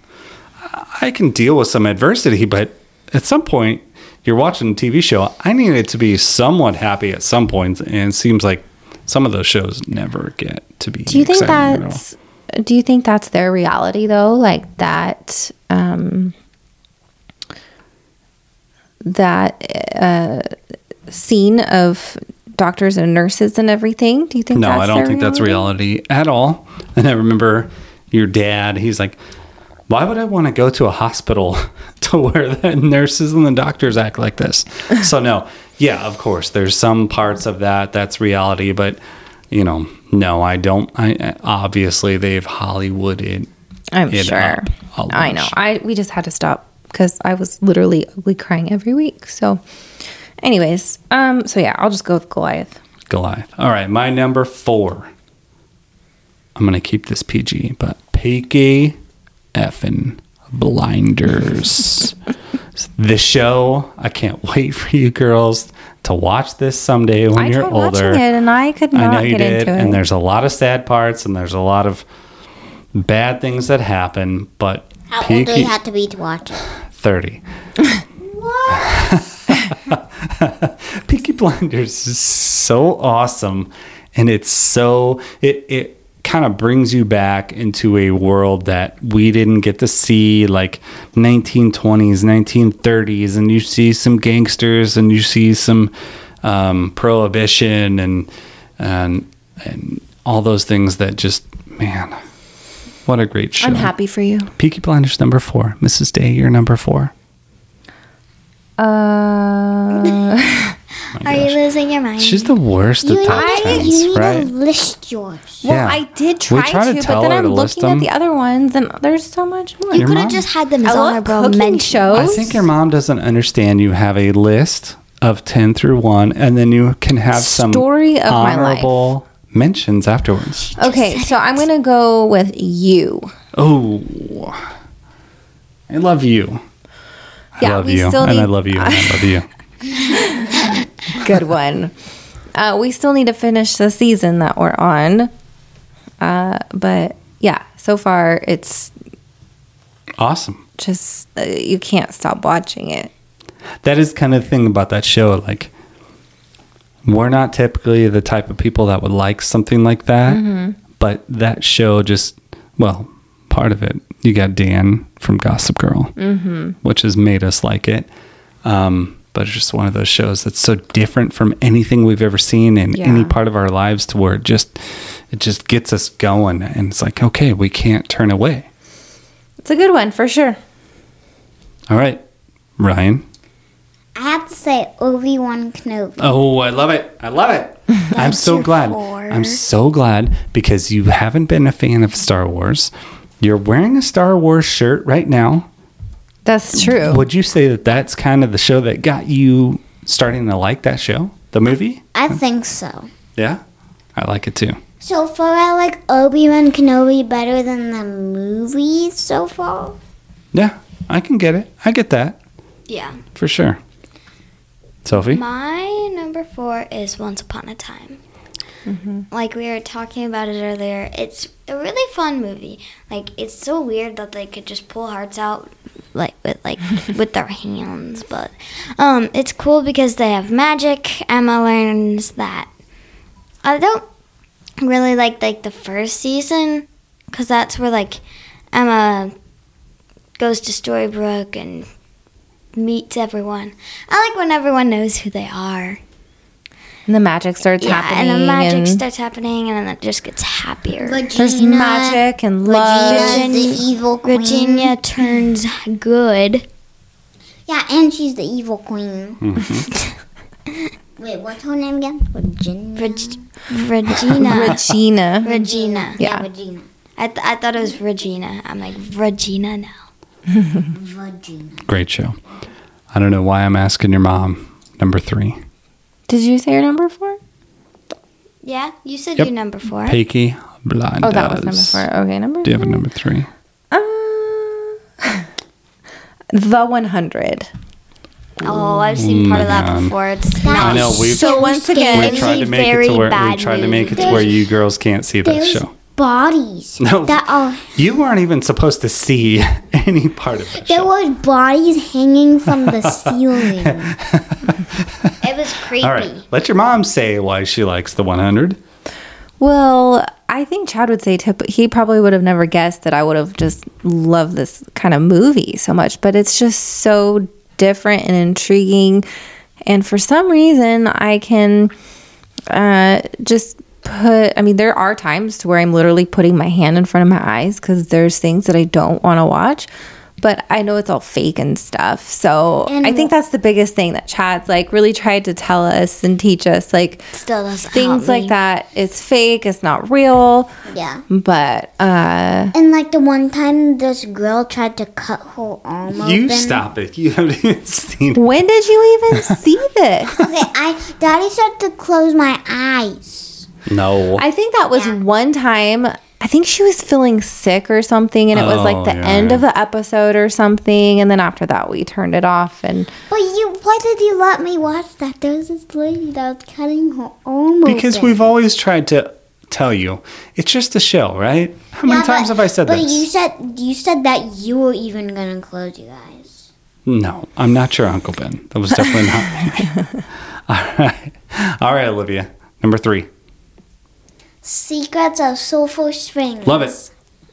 Speaker 2: i can deal with some adversity but at some point you're watching a tv show i need it to be somewhat happy at some points and it seems like some of those shows never get to be
Speaker 3: Do you think
Speaker 2: exciting at all.
Speaker 3: that's do you think that's their reality though? Like that um that uh scene of doctors and nurses and everything? Do you think
Speaker 2: No,
Speaker 3: that's
Speaker 2: I don't
Speaker 3: their
Speaker 2: think that's reality at all. And I remember your dad, he's like, why would I want to go to a hospital to where the nurses and the doctors act like this? So, no, yeah, of course, there's some parts of that that's reality, but you know, no, I don't. I obviously they've Hollywooded.
Speaker 3: I'm
Speaker 2: it uh,
Speaker 3: sure.
Speaker 2: up a
Speaker 3: I know.
Speaker 2: bunch.
Speaker 3: I we just had to stop because I was literally ugly crying every week. So anyways, um so yeah, I'll just go with Goliath.
Speaker 2: Goliath. All right, my number four. I'm gonna keep this PG, but Peaky effing blinders. the show. I can't wait for you girls to watch this someday when
Speaker 3: I
Speaker 2: you're
Speaker 3: tried
Speaker 2: older.
Speaker 3: watching it and I could
Speaker 2: I
Speaker 3: not
Speaker 2: know you
Speaker 3: get
Speaker 2: did,
Speaker 3: into it.
Speaker 2: and there's a lot of sad parts, and there's a lot of bad things that happen. But
Speaker 4: How old do
Speaker 2: Peaky
Speaker 4: you have to be to watch it?
Speaker 2: thirty. Peaky Blinders is so awesome, and it's so it it kind of brings you back into a world that we didn't get to see like 1920s, 1930s, and you see some gangsters and you see some um, prohibition and and and all those things that just man, what a great show!
Speaker 3: I'm happy for you.
Speaker 2: Peaky Blinders number four, Mrs. Day, you're number four.
Speaker 3: Uh,
Speaker 1: Are you losing your mind?
Speaker 2: She's the worst
Speaker 4: You
Speaker 2: at top
Speaker 4: need, to-
Speaker 2: tens,
Speaker 4: you need
Speaker 2: right?
Speaker 4: to list yours.
Speaker 3: well,
Speaker 2: Yeah.
Speaker 3: I did try,
Speaker 2: try to
Speaker 3: to,
Speaker 2: tell
Speaker 3: but then
Speaker 2: her
Speaker 3: I'm
Speaker 2: to list
Speaker 3: looking at
Speaker 2: them.
Speaker 3: the other ones, and there's so much more.
Speaker 1: you
Speaker 2: Your
Speaker 1: could have
Speaker 2: mom?
Speaker 1: just had them
Speaker 3: I
Speaker 1: as
Speaker 3: love
Speaker 1: honorable
Speaker 3: cooking
Speaker 1: mentions.
Speaker 3: shows.
Speaker 2: I think your mom doesn't understand. You have a list of ten through one, and then you can have some
Speaker 3: Story of my life.
Speaker 2: honorable mentions afterwards.
Speaker 3: okay, so I'm gonna go with you.
Speaker 2: Oh, I love you. I
Speaker 3: Yeah,
Speaker 2: love
Speaker 3: we
Speaker 2: you,
Speaker 3: still
Speaker 2: and I
Speaker 3: need-
Speaker 2: love you, and I love you.
Speaker 3: Good one. Uh, we still need to finish the season that we're on, uh, but yeah, so far it's
Speaker 2: Awesome.
Speaker 3: just uh, you can't stop watching it.
Speaker 2: that is kind of the thing about that show like we're not typically the type of people that would like something like that but that show just well part of it you got dan from gossip girl which has made us like it um, but it's just one of those shows that's so different from anything we've ever seen in
Speaker 3: Yeah.
Speaker 2: any part of our lives to where it just it just gets us going and it's like okay we can't turn away
Speaker 3: It's a good one for sure.
Speaker 2: all right ryan
Speaker 4: I have to say Obi Wan Kenobi.
Speaker 2: oh i love it i love it i'm so
Speaker 1: your
Speaker 2: glad
Speaker 1: four.
Speaker 2: i'm so glad because you haven't been a fan of star wars you're wearing a star wars shirt right now
Speaker 3: That's true.
Speaker 2: would you say that that's kind of the show that got you starting to like that show the movie
Speaker 4: I think so.
Speaker 2: yeah i like it too
Speaker 4: So far, I like Obi Wan Kenobi better than the movies so far.
Speaker 2: yeah i can get it i get that
Speaker 1: Yeah.
Speaker 2: For sure. Sophie?
Speaker 1: My number four is Once Upon a Time. Like we were talking about it earlier, it's a really fun movie. Like it's so weird that they could just pull hearts out like with like with their hands, but um, it's cool because they have magic. Emma learns that. I don't really like like the first season because that's where like Emma goes to Storybrooke and meets everyone. I like when everyone knows who they are.
Speaker 3: And the magic starts
Speaker 1: Yeah,
Speaker 3: happening.
Speaker 1: and the magic
Speaker 3: and
Speaker 1: starts happening, and then it just gets happier.
Speaker 3: There's magic and love.
Speaker 4: Regina's
Speaker 1: Virginia-
Speaker 4: the evil queen.
Speaker 1: Virginia turns good.
Speaker 4: Yeah, and she's the evil queen.
Speaker 2: Mm-hmm.
Speaker 4: Wait, what's her name again? Virginia.
Speaker 1: Reg- Regina.
Speaker 3: Regina.
Speaker 1: Regina.
Speaker 4: yeah,
Speaker 3: Yeah.
Speaker 4: Regina.
Speaker 1: I, th- I thought it was Regina. I'm like, Regina now.
Speaker 4: Virginia.
Speaker 2: Great show. I don't know why I'm asking your mom. Number three.
Speaker 3: Did you say your number four?
Speaker 1: Yeah, you said
Speaker 2: Yep.
Speaker 1: you're number four.
Speaker 2: Peaky Blinders.
Speaker 3: Oh, that was number four. Okay, number.
Speaker 2: Do you have a number three?
Speaker 3: Uh, the 100.
Speaker 1: Oh, I've seen part of that
Speaker 2: man.
Speaker 1: before. It's
Speaker 2: I
Speaker 1: not
Speaker 2: know. We've,
Speaker 3: So once
Speaker 2: we
Speaker 3: again,
Speaker 1: scary.
Speaker 2: tried to make it
Speaker 1: very
Speaker 2: to where we
Speaker 1: bad
Speaker 2: tried to make it to
Speaker 4: movie.
Speaker 2: where you girls can't see that
Speaker 4: There's
Speaker 2: show.
Speaker 4: bodies
Speaker 2: No.
Speaker 4: that are
Speaker 2: You weren't even supposed to see any part of that
Speaker 4: there
Speaker 2: show.
Speaker 4: were bodies hanging from the ceiling.
Speaker 1: It was creepy.
Speaker 2: All right. Let your mom say why she likes the 100.
Speaker 3: well, I think Chad would say tip. He probably would have never guessed that I would have just loved this kind of movie so much, but it's just so different and intriguing. And for some reason, I can uh, just put i mean there are times to where i'm literally putting my hand in front of my eyes because there's things that i don't want to watch but i know it's all fake and stuff so i think that's the biggest thing that chad's like really tried to tell us and teach us like
Speaker 1: Still doesn't
Speaker 3: things
Speaker 1: help
Speaker 3: like
Speaker 1: me.
Speaker 3: that it's fake it's not real
Speaker 4: Yeah.
Speaker 3: but uh
Speaker 4: And like the one time this girl tried to cut her arm open.
Speaker 2: You stop it. You haven't even seen it.
Speaker 3: when did you even see this
Speaker 4: Okay, I Daddy said to close my eyes.
Speaker 2: No.
Speaker 3: I think that was one time. I think she was feeling sick or something, and it was
Speaker 2: Oh,
Speaker 3: like the
Speaker 2: yeah,
Speaker 3: end
Speaker 2: yeah.
Speaker 3: of the episode or something. And then after that, we turned it off. And
Speaker 4: But you, why did you let me watch that? There was this lady that was cutting her arm
Speaker 2: Because
Speaker 4: open.
Speaker 2: we've always tried to tell you, it's just a show, right? How many
Speaker 4: Yeah,
Speaker 2: times
Speaker 4: but-
Speaker 2: have I said
Speaker 4: But
Speaker 2: this?
Speaker 4: you said you said that you were even gonna close your eyes.
Speaker 2: No, I'm not your Uncle Ben. That was definitely not me. All right. All right, Olivia. Number three.
Speaker 4: Secrets of Sulphur Springs.
Speaker 2: Love it.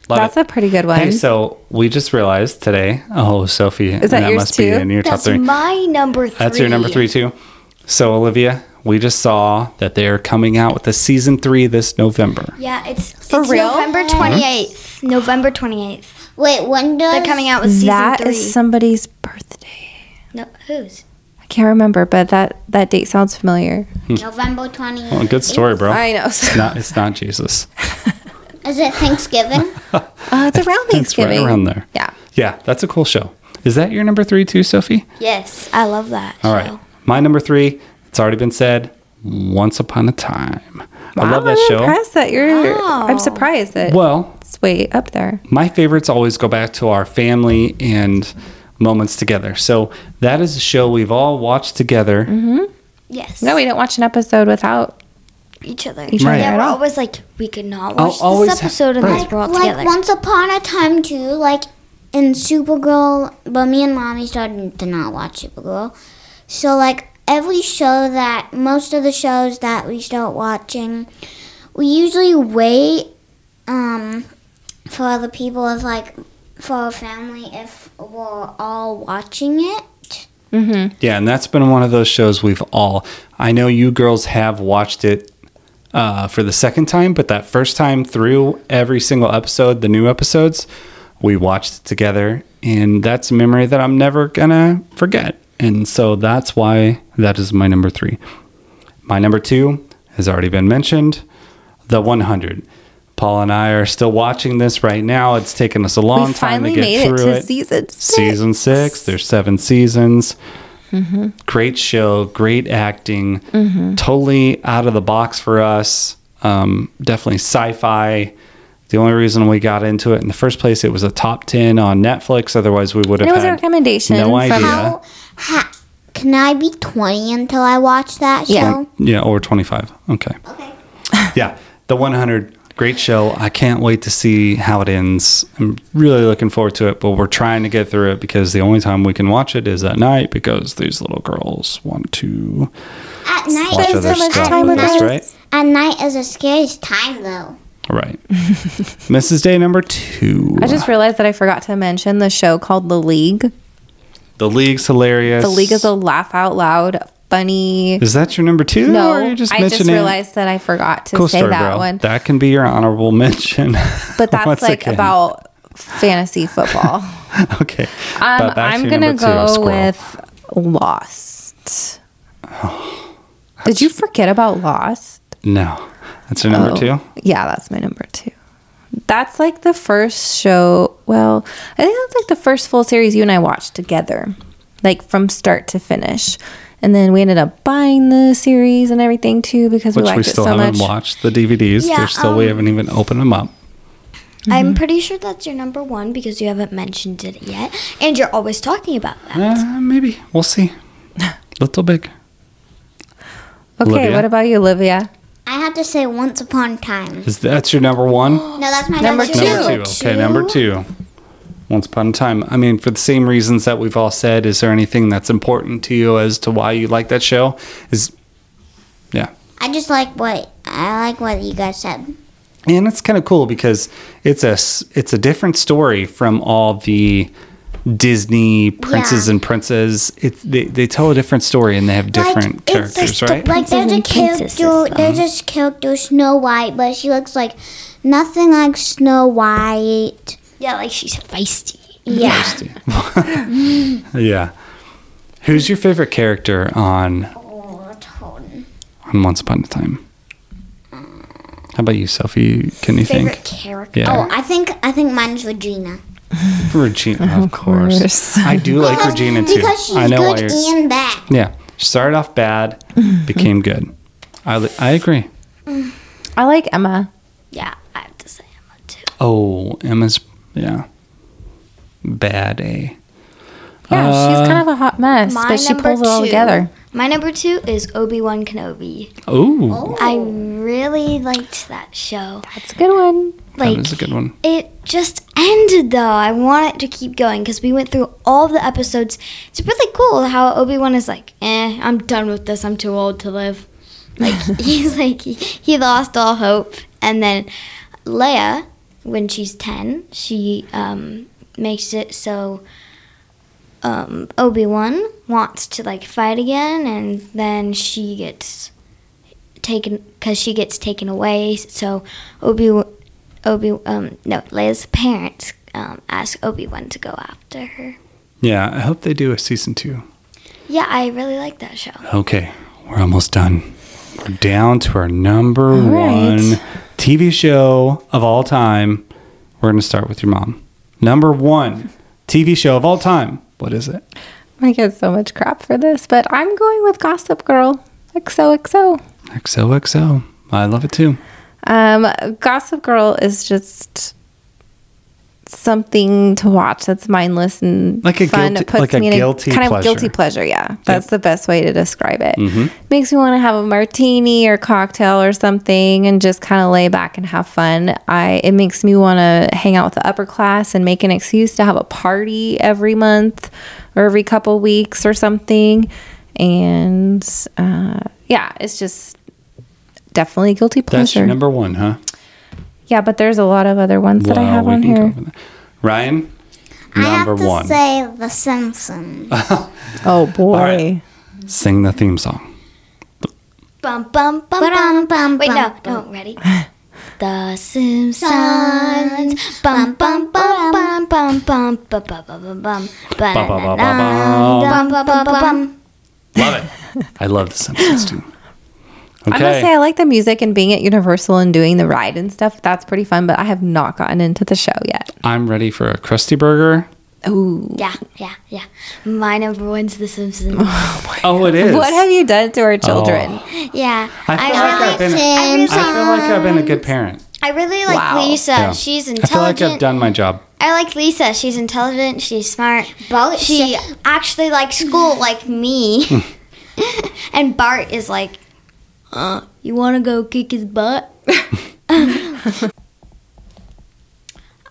Speaker 2: Love
Speaker 3: that's
Speaker 2: it.
Speaker 3: a pretty good one.
Speaker 2: Hey, so we just realized today. Oh, Sophie. Is
Speaker 3: that yours
Speaker 2: must be
Speaker 3: too?
Speaker 2: in your top
Speaker 1: That's
Speaker 2: three.
Speaker 1: my number three.
Speaker 2: That's your number three, too. So, Olivia, we just saw that they are coming out with the season three this November.
Speaker 1: Yeah, it's,
Speaker 3: For
Speaker 1: it's
Speaker 3: real?
Speaker 1: November
Speaker 2: Uh-huh.
Speaker 1: 28th. November 28th.
Speaker 4: Wait, when does
Speaker 1: They're coming out with season
Speaker 3: That is
Speaker 1: three.
Speaker 3: somebody's birthday.
Speaker 1: no, whose?
Speaker 3: I can't remember, but that that date sounds familiar.
Speaker 2: Hmm.
Speaker 4: November twenty.
Speaker 2: Well, good story, bro.
Speaker 3: I know.
Speaker 2: It's not, it's not Jesus.
Speaker 4: Is it Thanksgiving?
Speaker 3: Uh, it's around
Speaker 2: It's right
Speaker 3: Thanksgiving.
Speaker 2: around there.
Speaker 3: Yeah.
Speaker 2: Yeah, that's a cool show. Is that your number three, too, Sophie?
Speaker 1: Yes, I love that.
Speaker 2: All right. My number three, it's already been said, Once Upon a Time. I love that
Speaker 3: I'm
Speaker 2: show.
Speaker 3: Impressed that you're.
Speaker 1: Wow.
Speaker 3: I'm surprised that
Speaker 2: Well,
Speaker 3: it's way up there.
Speaker 2: my favorites always go back to our family and moments together. So that is a show we've all watched together.
Speaker 1: Yes.
Speaker 3: No, we didn't watch an episode without.
Speaker 1: each other.
Speaker 3: Each other
Speaker 2: Right.
Speaker 1: Yeah,
Speaker 3: at
Speaker 1: we're
Speaker 3: all.
Speaker 1: always like, we could not
Speaker 2: I'll
Speaker 1: watch
Speaker 2: always
Speaker 1: this
Speaker 2: ha-
Speaker 1: episode
Speaker 2: right.
Speaker 1: unless we're all
Speaker 4: like
Speaker 1: together.
Speaker 4: once upon a time too, like in Supergirl, but me and mommy started to not watch Supergirl. So like every show that most of the shows that we start watching, we usually wait um for other people if like for our family if we're all watching it.
Speaker 2: Yeah, and that's been one of those shows we've all. I know you girls have watched it uh, for the second time, but that first time through every single episode, the new episodes, we watched it together, and that's a memory that I'm never gonna forget. And so that's why that is my number three. My number two has already been mentioned, the 100. Paul and I are still watching this right now. It's taken us a long time
Speaker 3: we
Speaker 2: to
Speaker 3: finally
Speaker 2: get
Speaker 3: made it
Speaker 2: through
Speaker 3: to
Speaker 2: it
Speaker 3: season six.
Speaker 2: season six. There's seven seasons.
Speaker 3: Mm-hmm.
Speaker 2: Great show, great acting, totally out of the box for us. Um, definitely sci fi. The only reason we got into it in the first place, it was a top 10 on Netflix. Otherwise, we would have
Speaker 3: And it was a
Speaker 2: had
Speaker 3: recommendation
Speaker 2: no
Speaker 3: from-
Speaker 2: idea.
Speaker 4: How, ha, can I be 20 until I watch that
Speaker 3: Yeah.
Speaker 4: show?
Speaker 2: Yeah, or 25. Okay.
Speaker 4: Okay.
Speaker 2: Yeah, The 100. Great show. I can't wait to see how it ends. I'm really looking forward to it, but we're trying to get through it because the only time we can watch it is at night because these little girls want to
Speaker 4: At night
Speaker 2: watch
Speaker 4: is
Speaker 2: other
Speaker 4: at
Speaker 2: stuff
Speaker 4: night-
Speaker 2: with us, right?
Speaker 4: At night is the scariest time though.
Speaker 2: Right. Mrs. Day number two.
Speaker 3: I just realized that I forgot to mention the show called The League.
Speaker 2: the league's hilarious.
Speaker 3: The League is a laugh out loud, funny.
Speaker 2: Is that your number two?
Speaker 3: No,
Speaker 2: or are you just
Speaker 3: I just
Speaker 2: mentioning
Speaker 3: realized that I forgot to
Speaker 2: Cool
Speaker 3: say
Speaker 2: story,
Speaker 3: that
Speaker 2: bro.
Speaker 3: one.
Speaker 2: That can be your honorable mention. once
Speaker 3: but that's like
Speaker 2: again.
Speaker 3: about fantasy football.
Speaker 2: okay.
Speaker 3: Um,
Speaker 2: But back
Speaker 3: I'm
Speaker 2: your
Speaker 3: gonna
Speaker 2: number two,
Speaker 3: go
Speaker 2: Squirrel.
Speaker 3: with Lost. Did you forget about Lost?
Speaker 2: no. That's your
Speaker 3: Oh,
Speaker 2: number two.
Speaker 3: Yeah, that's my number two. That's like the first show. Well, I think that's like the first full series you and I watched together, like from start to finish. And then we ended up buying the series and everything too because we
Speaker 2: Which
Speaker 3: liked
Speaker 2: we still
Speaker 3: it so
Speaker 2: haven't
Speaker 3: much.
Speaker 2: watched the DVDs.
Speaker 1: Yeah,
Speaker 2: They're still we
Speaker 1: um,
Speaker 2: haven't even opened them up.
Speaker 1: I'm pretty sure that's your number one because you haven't mentioned it yet, and you're always talking about that.
Speaker 2: Uh, maybe we'll see. Little big.
Speaker 3: Okay,
Speaker 2: Olivia?
Speaker 3: what about you, Olivia?
Speaker 4: I have to say once upon a time.
Speaker 2: Is that's your number one?
Speaker 4: No, that's my
Speaker 3: Number
Speaker 4: number
Speaker 3: two.
Speaker 2: Number two. Okay, number two. Once upon a time. I mean, for the same reasons that we've all said, is there anything that's important to you as to why you like that show? Is yeah.
Speaker 4: I just like what I like what you guys said.
Speaker 2: and it's kind of cool because it's a s- it's a different story from all the Disney princes
Speaker 4: Yeah.
Speaker 2: and princesses. It they, they tell a different story and they have different
Speaker 4: it's a
Speaker 2: characters,
Speaker 1: sto-
Speaker 2: right?
Speaker 4: Like there's a
Speaker 1: and princesses, um,
Speaker 4: character, there's this character Snow White, but she looks like nothing like Snow White.
Speaker 1: Yeah, like she's feisty.
Speaker 4: Yeah,
Speaker 2: yeah. Who's your favorite character on
Speaker 4: Oh,
Speaker 2: on Once Upon a Time? How about you, Sophie? Can you
Speaker 1: Favorite
Speaker 2: think?
Speaker 1: character.
Speaker 2: Yeah,
Speaker 4: Oh, I think I think mine's Regina.
Speaker 2: Regina, of course.
Speaker 3: course.
Speaker 2: I do like Regina too.
Speaker 4: Because she's
Speaker 2: I know why
Speaker 4: good
Speaker 2: you're.
Speaker 4: and bad.
Speaker 2: Yeah, she started off bad, became good. I li- I agree.
Speaker 3: I like Emma.
Speaker 1: Yeah, I have to say Emma too.
Speaker 2: Oh, Emma's yeah. Bad A.
Speaker 3: Yeah,
Speaker 2: Uh,
Speaker 3: she's kind of a hot mess, but she
Speaker 1: number
Speaker 3: pulls it all together.
Speaker 1: My number two is Obi Wan Kenobi.
Speaker 2: Oh,
Speaker 1: I really liked that show.
Speaker 3: That's a good one.
Speaker 1: Like
Speaker 2: that is a good one.
Speaker 1: it just ended though. I want it to keep going because we went through all the episodes. It's really cool how Obi Wan is like, eh, I'm done with this. I'm too old to live. Like he's like he, he lost all hope. And then Leia, when she's ten, she um, makes it so um, Obi Wan wants to like fight again, and then she gets taken because she gets taken away. So Obi Wan. Obi um no Leia's parents um ask Obi Wan to go after her.
Speaker 2: Yeah, I hope they do a season two.
Speaker 1: Yeah, I really like that show.
Speaker 2: Okay, we're almost done. We're down to our number
Speaker 3: right.
Speaker 2: one TV show of all time. We're gonna start with your mom. Number one TV show of all time. What is it?
Speaker 3: I get so much crap for this, but I'm going with Gossip Girl. XOXO.
Speaker 2: XOXO. I love it too.
Speaker 3: Um, Gossip Girl is just something to watch that's mindless and
Speaker 2: Like a
Speaker 3: fun.
Speaker 2: guilty-
Speaker 3: it puts
Speaker 2: like a
Speaker 3: me in
Speaker 2: guilty
Speaker 3: a kind
Speaker 2: pleasure. Mm-hmm.
Speaker 3: of guilty pleasure. Yeah, that's the best way to describe it. Makes me want to have a martini or cocktail or something and just kind of lay back and have fun. I it makes me want to hang out with the upper class and make an excuse to have a party every month or every couple weeks or something. And uh, yeah, it's just definitely guilty pleasure.
Speaker 2: That's your number one, huh?
Speaker 3: Yeah, but there's a lot of other ones that I have on here.
Speaker 2: over that. Ryan,
Speaker 4: I
Speaker 2: number
Speaker 4: have to
Speaker 2: one.
Speaker 4: say The Simpsons.
Speaker 3: Oh boy.
Speaker 2: right. Sing the theme song.
Speaker 1: Bum bum bum bum.
Speaker 4: Ba-dum, bum,
Speaker 1: Wait, no,
Speaker 4: bum,
Speaker 1: no, ready? The Simpsons. Bum bum bum bum bum bum bum bum bum bum bum
Speaker 2: ba, ba, ba,
Speaker 1: Ba-da-da-dum, bum bum bum bum.
Speaker 2: Love it. I love The Simpsons too.
Speaker 3: I must say
Speaker 2: Okay.
Speaker 3: I like the music and being at Universal and doing the ride and stuff. That's pretty fun, but I have not gotten into the show yet.
Speaker 2: I'm ready for a Krusty Burger.
Speaker 3: Ooh.
Speaker 1: Yeah, yeah, yeah. My number one's The Simpsons.
Speaker 2: Oh, it is.
Speaker 3: What have you done to our children?
Speaker 1: Yeah,
Speaker 2: I feel like
Speaker 1: I
Speaker 2: I've
Speaker 1: really,
Speaker 2: been.
Speaker 1: I really,
Speaker 2: I feel like I've been a good parent.
Speaker 1: I really like
Speaker 3: Wow.
Speaker 1: Lisa.
Speaker 2: Yeah.
Speaker 1: She's
Speaker 2: I feel like
Speaker 1: intelligent.
Speaker 2: I've done my job.
Speaker 1: I like Lisa. She's intelligent. She's smart.
Speaker 4: Both
Speaker 1: She actually likes school like me. and Bart is like, uh, you want to go kick his butt?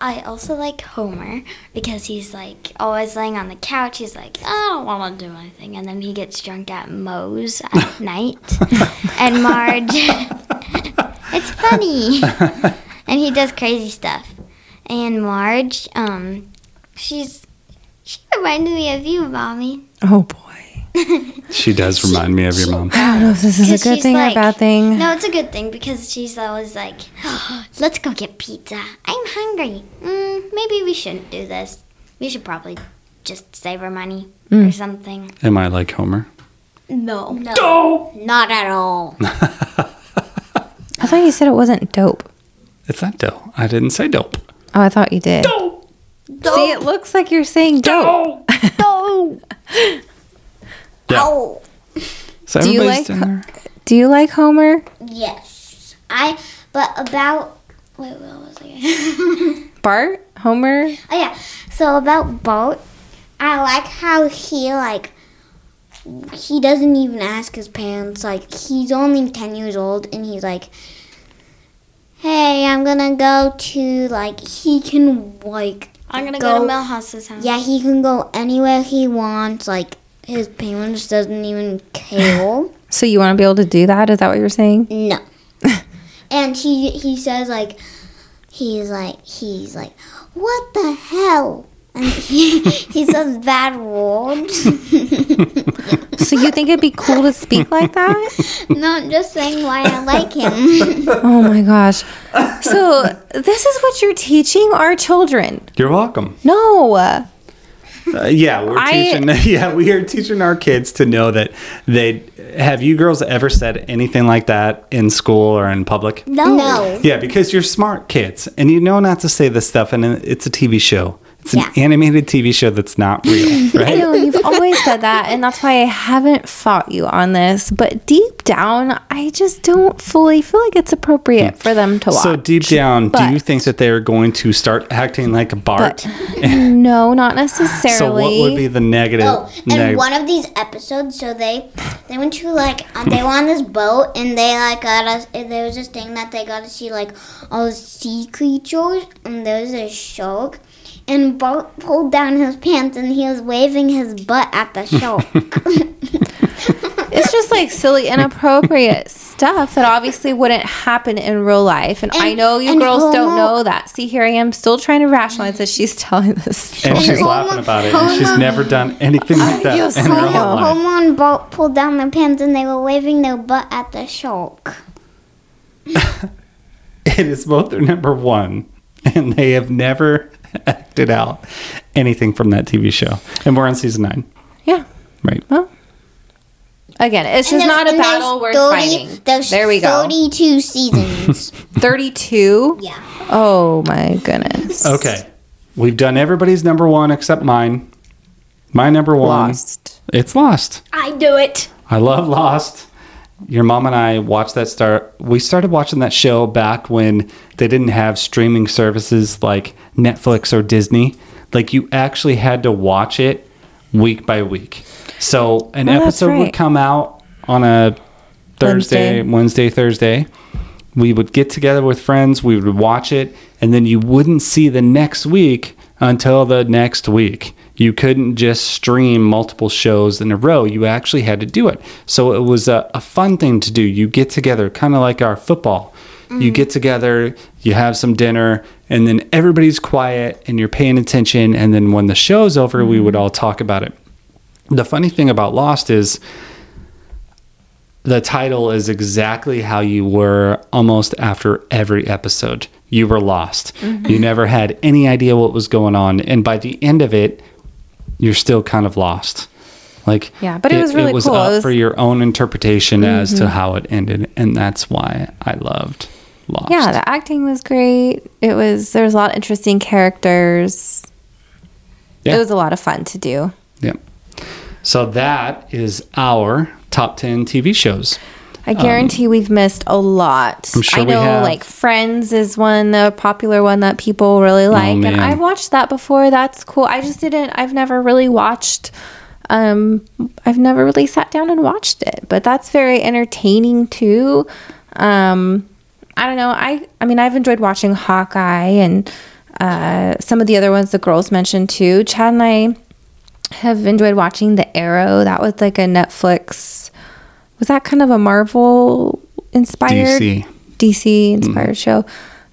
Speaker 1: I also like Homer because he's like always laying on the couch. He's like, I don't want to do anything. And then he gets drunk at Moe's at night. and Marge. it's funny. and he does crazy stuff. And Marge, um, she's. She reminded me of you, mommy.
Speaker 3: Oh boy.
Speaker 2: She does remind me of your mom.
Speaker 3: I don't know if Oh, this is
Speaker 1: 'Cause
Speaker 3: a good
Speaker 1: she's
Speaker 3: thing or a
Speaker 1: like-
Speaker 3: bad thing.
Speaker 1: No, it's a good thing because she's always like, let's go get pizza. I'm hungry. Mm, maybe we shouldn't do this. We should probably just save our money
Speaker 3: Mm.
Speaker 1: or something.
Speaker 2: Am I like Homer?
Speaker 1: No. No.
Speaker 4: Not at all.
Speaker 3: I thought you said it wasn't dope.
Speaker 2: It's not dope. I didn't say dope.
Speaker 3: Oh, I thought you did. See, it looks like you're saying dope.
Speaker 2: Yeah.
Speaker 4: Oh,
Speaker 2: So
Speaker 3: Do you
Speaker 2: everybody's
Speaker 3: like-
Speaker 2: down there.
Speaker 3: Do you like Homer?
Speaker 4: yes. I, but about, wait, what was I?
Speaker 3: Bart? Homer?
Speaker 4: oh, yeah. So about Bart, I like how he, like, he doesn't even ask his parents. Like, he's only 10 years old, and he's like, hey, I'm gonna go to, like, he can, like,
Speaker 1: I'm going to
Speaker 4: go
Speaker 1: go
Speaker 4: to
Speaker 1: to Milhouse's house.
Speaker 4: Yeah, he can go anywhere he wants. Like his parents doesn't even care.
Speaker 3: So you want to be able to do that? Is that what you're saying?
Speaker 4: no. and he he says like he's like he's like what the hell? And he he says bad words.
Speaker 3: So you think it'd be cool to speak like that?
Speaker 4: no, I'm just saying why I like him.
Speaker 3: Oh my gosh. So this is what you're teaching our children.
Speaker 2: You're welcome.
Speaker 3: No.
Speaker 2: Uh, yeah, we're
Speaker 3: I-
Speaker 2: teaching. Yeah, we are teaching our kids to know that they. Have you girls ever said anything like that in school or in public?
Speaker 4: no. No.
Speaker 2: Yeah, because you're smart kids and you know not to say this stuff, and it's a TV show. It's an animated TV show that's not real,
Speaker 3: I
Speaker 2: right?
Speaker 3: know you've always said that, and that's why I haven't fought you on this. But deep down, I just don't fully feel like it's appropriate for them to watch.
Speaker 2: So deep down, do you
Speaker 3: But-
Speaker 2: think that they are going to start acting like a Bart?
Speaker 3: but no, not
Speaker 2: So
Speaker 3: necessarily.
Speaker 2: what would be the negative?
Speaker 4: Oh, and
Speaker 2: neg-
Speaker 4: one of these episodes, so they they went to like uh, they were on this boat and they like got us. There was this thing that they got to see like all the sea creatures and there was a shark. And Bart pulled down his pants and he was waving his butt at the shark.
Speaker 3: it's just like silly, inappropriate stuff that obviously wouldn't happen in real life. And, I
Speaker 4: And-
Speaker 3: know you
Speaker 4: and
Speaker 3: girls don't
Speaker 4: Homo-
Speaker 3: know that. See, here I am still trying to rationalize that she's telling this story.
Speaker 2: and she's
Speaker 4: Homer-
Speaker 2: laughing about it. and she's
Speaker 4: Homer-
Speaker 2: never done anything like that
Speaker 3: feel
Speaker 2: in her
Speaker 3: so
Speaker 2: whole life.
Speaker 4: Homer and Bart pulled down their pants and they were waving their butt at the shark.
Speaker 2: It is both their number one, and they have never acted out anything from that TV show. And we're on season nine,
Speaker 3: Yeah.
Speaker 2: right?
Speaker 3: Again, it's just not a battle worth fighting. There we go.
Speaker 4: 32 seasons.
Speaker 3: 32.
Speaker 4: yeah.
Speaker 3: Oh my goodness.
Speaker 2: Okay, we've done everybody's number one except mine. My number one,
Speaker 3: Lost.
Speaker 2: it's Lost.
Speaker 1: I do it.
Speaker 2: I love Lost. Your mom and I watched that start. We started watching that show back when they didn't have streaming services like Netflix or Disney. Like you actually had to watch it week by week. So an
Speaker 3: Oh, that's
Speaker 2: episode would
Speaker 3: right.
Speaker 2: come out on a Thursday, Wednesday, Thursday. We would get together with friends, we would watch it, and then you wouldn't see the next week until the next week. You couldn't just stream multiple shows in a row. You actually had to do it. So it was a, a fun thing to do. You get together, kind of like our football. You get together, you have some dinner, and then everybody's quiet and you're paying attention. And then when the show's over, we would all talk about it. The funny thing about Lost is the title is exactly how you were almost after every episode. You were lost.
Speaker 3: Mm-hmm.
Speaker 2: You never had any idea what was going on. And by the end of it, you're still kind of lost. Like
Speaker 3: Yeah, but it was
Speaker 2: up
Speaker 3: really cool. It was- Mm-hmm.
Speaker 2: for your own interpretation as to how it ended, and that's why I loved Lost.
Speaker 3: Yeah, the acting was great. It was there was a lot of interesting characters.
Speaker 2: Yeah.
Speaker 3: It was a lot of fun to do.
Speaker 2: Yep. So that is our top 10 TV shows.
Speaker 3: I guarantee we've missed a lot.
Speaker 2: I'm sure
Speaker 3: I
Speaker 2: we
Speaker 3: know
Speaker 2: have.
Speaker 3: like Friends is one a popular one that people really like
Speaker 2: Oh, man.
Speaker 3: and I've watched that before. That's cool. I just didn't I've never really watched um I've never really sat down and watched it, but that's very entertaining too. Um I don't know. I I mean I've enjoyed watching Hawkeye and uh some of the other ones the girls mentioned too. Chad and I have enjoyed watching The Arrow. That was like a Netflix. Was that kind of a Marvel inspired
Speaker 2: DC.
Speaker 3: DC inspired show?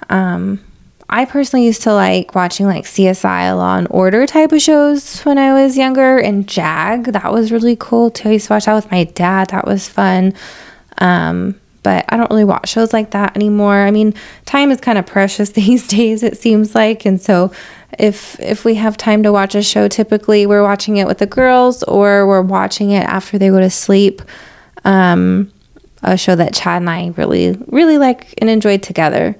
Speaker 3: Um, I personally used to like watching like CSI, Law and Order type of shows when I was younger, and Jag. That was really cool too. I used to watch that with my dad. That was fun. Um, but I don't really watch shows like that anymore. I mean, time is kind of precious these days, it seems like. And so if if we have time to watch a show, typically we're watching it with the girls or we're watching it after they go to sleep. Um, a show that Chad and I really, really like and enjoyed together.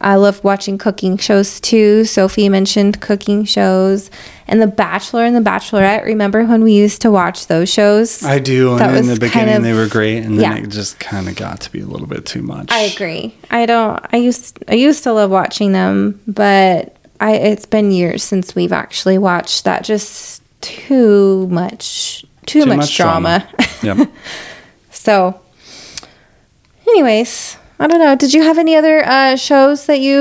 Speaker 3: I love watching cooking shows too. Sophie mentioned cooking shows and The Bachelor and The Bachelorette. Remember when we used to watch those shows?
Speaker 2: I do.
Speaker 3: That
Speaker 2: And in the
Speaker 3: was
Speaker 2: beginning,
Speaker 3: kind of-
Speaker 2: they were great. And then
Speaker 3: yeah.
Speaker 2: it just kind of got to be a little bit too much.
Speaker 3: I agree. I don't. I used. I used to love watching them, but I. It's been years since we've actually watched that. Just too much. Too, much, drama.
Speaker 2: yep.
Speaker 3: so, anyways, I don't know. Did you have any other uh, shows that you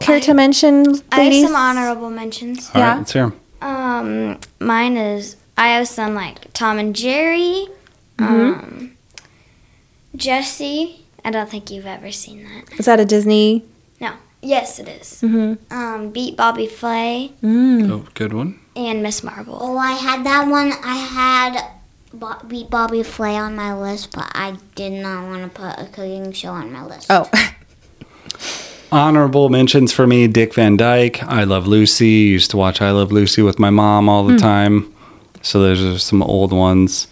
Speaker 3: care
Speaker 1: Oh, I-
Speaker 3: to mention, ladies?
Speaker 1: I have some honorable mentions.
Speaker 2: All right,
Speaker 3: Yeah.
Speaker 2: let's hear 'em.
Speaker 1: Um, mine is I have some like Tom and Jerry, um, Jesse. I don't think you've ever seen that.
Speaker 3: Is that a Disney?
Speaker 1: No. Yes, it is.
Speaker 3: Mhm.
Speaker 1: Um, Beat Bobby Flay
Speaker 3: Mm.
Speaker 2: Oh, good one.
Speaker 1: and Miss Marvel.
Speaker 4: Oh, I had that one. I had Bo- Beat Bobby Flay on my list, but I did not want to put a cooking show on my list.
Speaker 3: Oh,
Speaker 2: Honorable mentions for me Dick Van Dyke, I Love Lucy. Used to watch I Love Lucy with my mom all the time. So those are some old ones.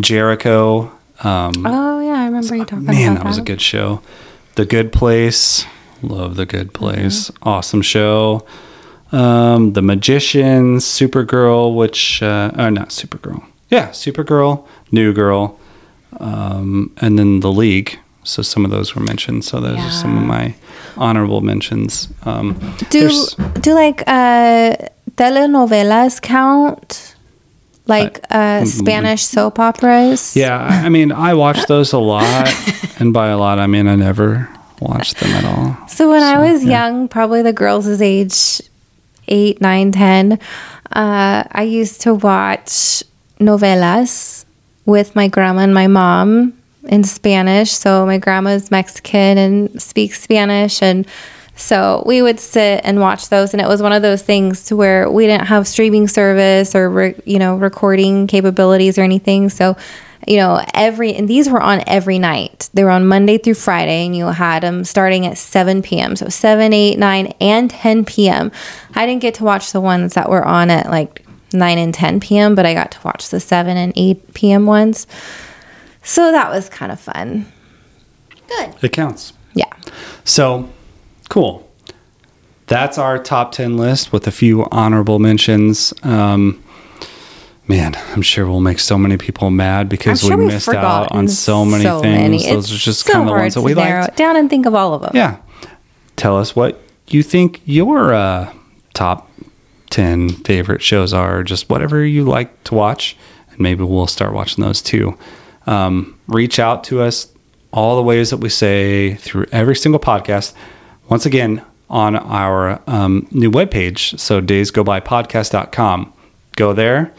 Speaker 2: Jericho. Um,
Speaker 3: oh yeah, I remember you talking
Speaker 2: Man,
Speaker 3: about
Speaker 2: that was a good show. The Good Place. Love The Good
Speaker 3: Mm-hmm.
Speaker 2: Place. Awesome show. Um, the Magician, Supergirl, which, uh, oh, not Supergirl. Yeah, Supergirl, New Girl, um, and then The League. So some of those were mentioned. So those are some of my honorable mentions. Um,
Speaker 3: do
Speaker 2: there's-
Speaker 3: do like uh telenovelas count like uh spanish soap operas
Speaker 2: yeah, I I mean, I watched those a lot. and by a lot, I mean, I never watched them at all.
Speaker 3: so when i was young probably the girls is age eight nine ten uh i used to watch novelas with my grandma and my mom in spanish so my grandma's mexican and speaks spanish and so we would sit and watch those and it was one of those things to where we didn't have streaming service or re- you know recording capabilities or anything so you know every and these were on every night they were on monday through friday and you had them starting at 7 p.m so 7 8 9 and 10 p.m i didn't get to watch the ones that were on at like 9 and 10 p.m but i got to watch the 7 and 8 p.m ones so that was kind of fun
Speaker 2: It counts.
Speaker 3: yeah
Speaker 2: So, cool. That's our top 10 list with a few honorable mentions. Um, man, I'm sure we'll make so many people mad because
Speaker 3: I'm sure
Speaker 2: we
Speaker 3: we've
Speaker 2: missed out on
Speaker 3: forgotten
Speaker 2: so many
Speaker 3: so
Speaker 2: things.
Speaker 3: many.
Speaker 2: Those
Speaker 3: It's
Speaker 2: are just
Speaker 3: so
Speaker 2: kind of the
Speaker 3: hard
Speaker 2: ones that
Speaker 3: to
Speaker 2: we
Speaker 3: narrow
Speaker 2: liked.
Speaker 3: it down and think of all of them.
Speaker 2: Yeah. Tell us what you think your uh, top 10 favorite shows are, just whatever you like to watch. And maybe we'll start watching those too. Um, reach out to us all the ways that we say through every single podcast. Once again, on our um, new webpage, so daysgobypodcast.com. Go there.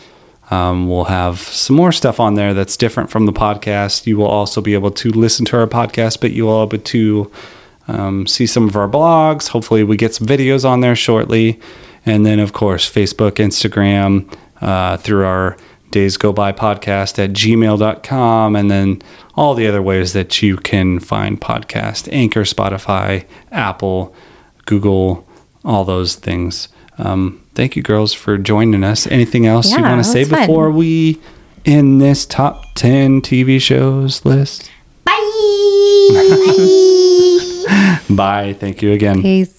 Speaker 2: Um, we'll have some more stuff on there that's different from the podcast. You will also be able to listen to our podcast, but you will be able to um, see some of our blogs. Hopefully, we get some videos on there shortly. And then, of course, Facebook, Instagram, uh, through our Days Go By podcast at gmail.com, and then all the other ways that you can find podcast Anchor, Spotify, Apple, Google, all those things. Um, thank you, girls, for joining us. Anything else you
Speaker 3: Yeah,
Speaker 2: want to
Speaker 3: that
Speaker 2: say
Speaker 3: was fun.
Speaker 2: before we end this top 10 TV shows list?
Speaker 4: Bye. Bye.
Speaker 2: Bye. Thank you again.
Speaker 3: Peace.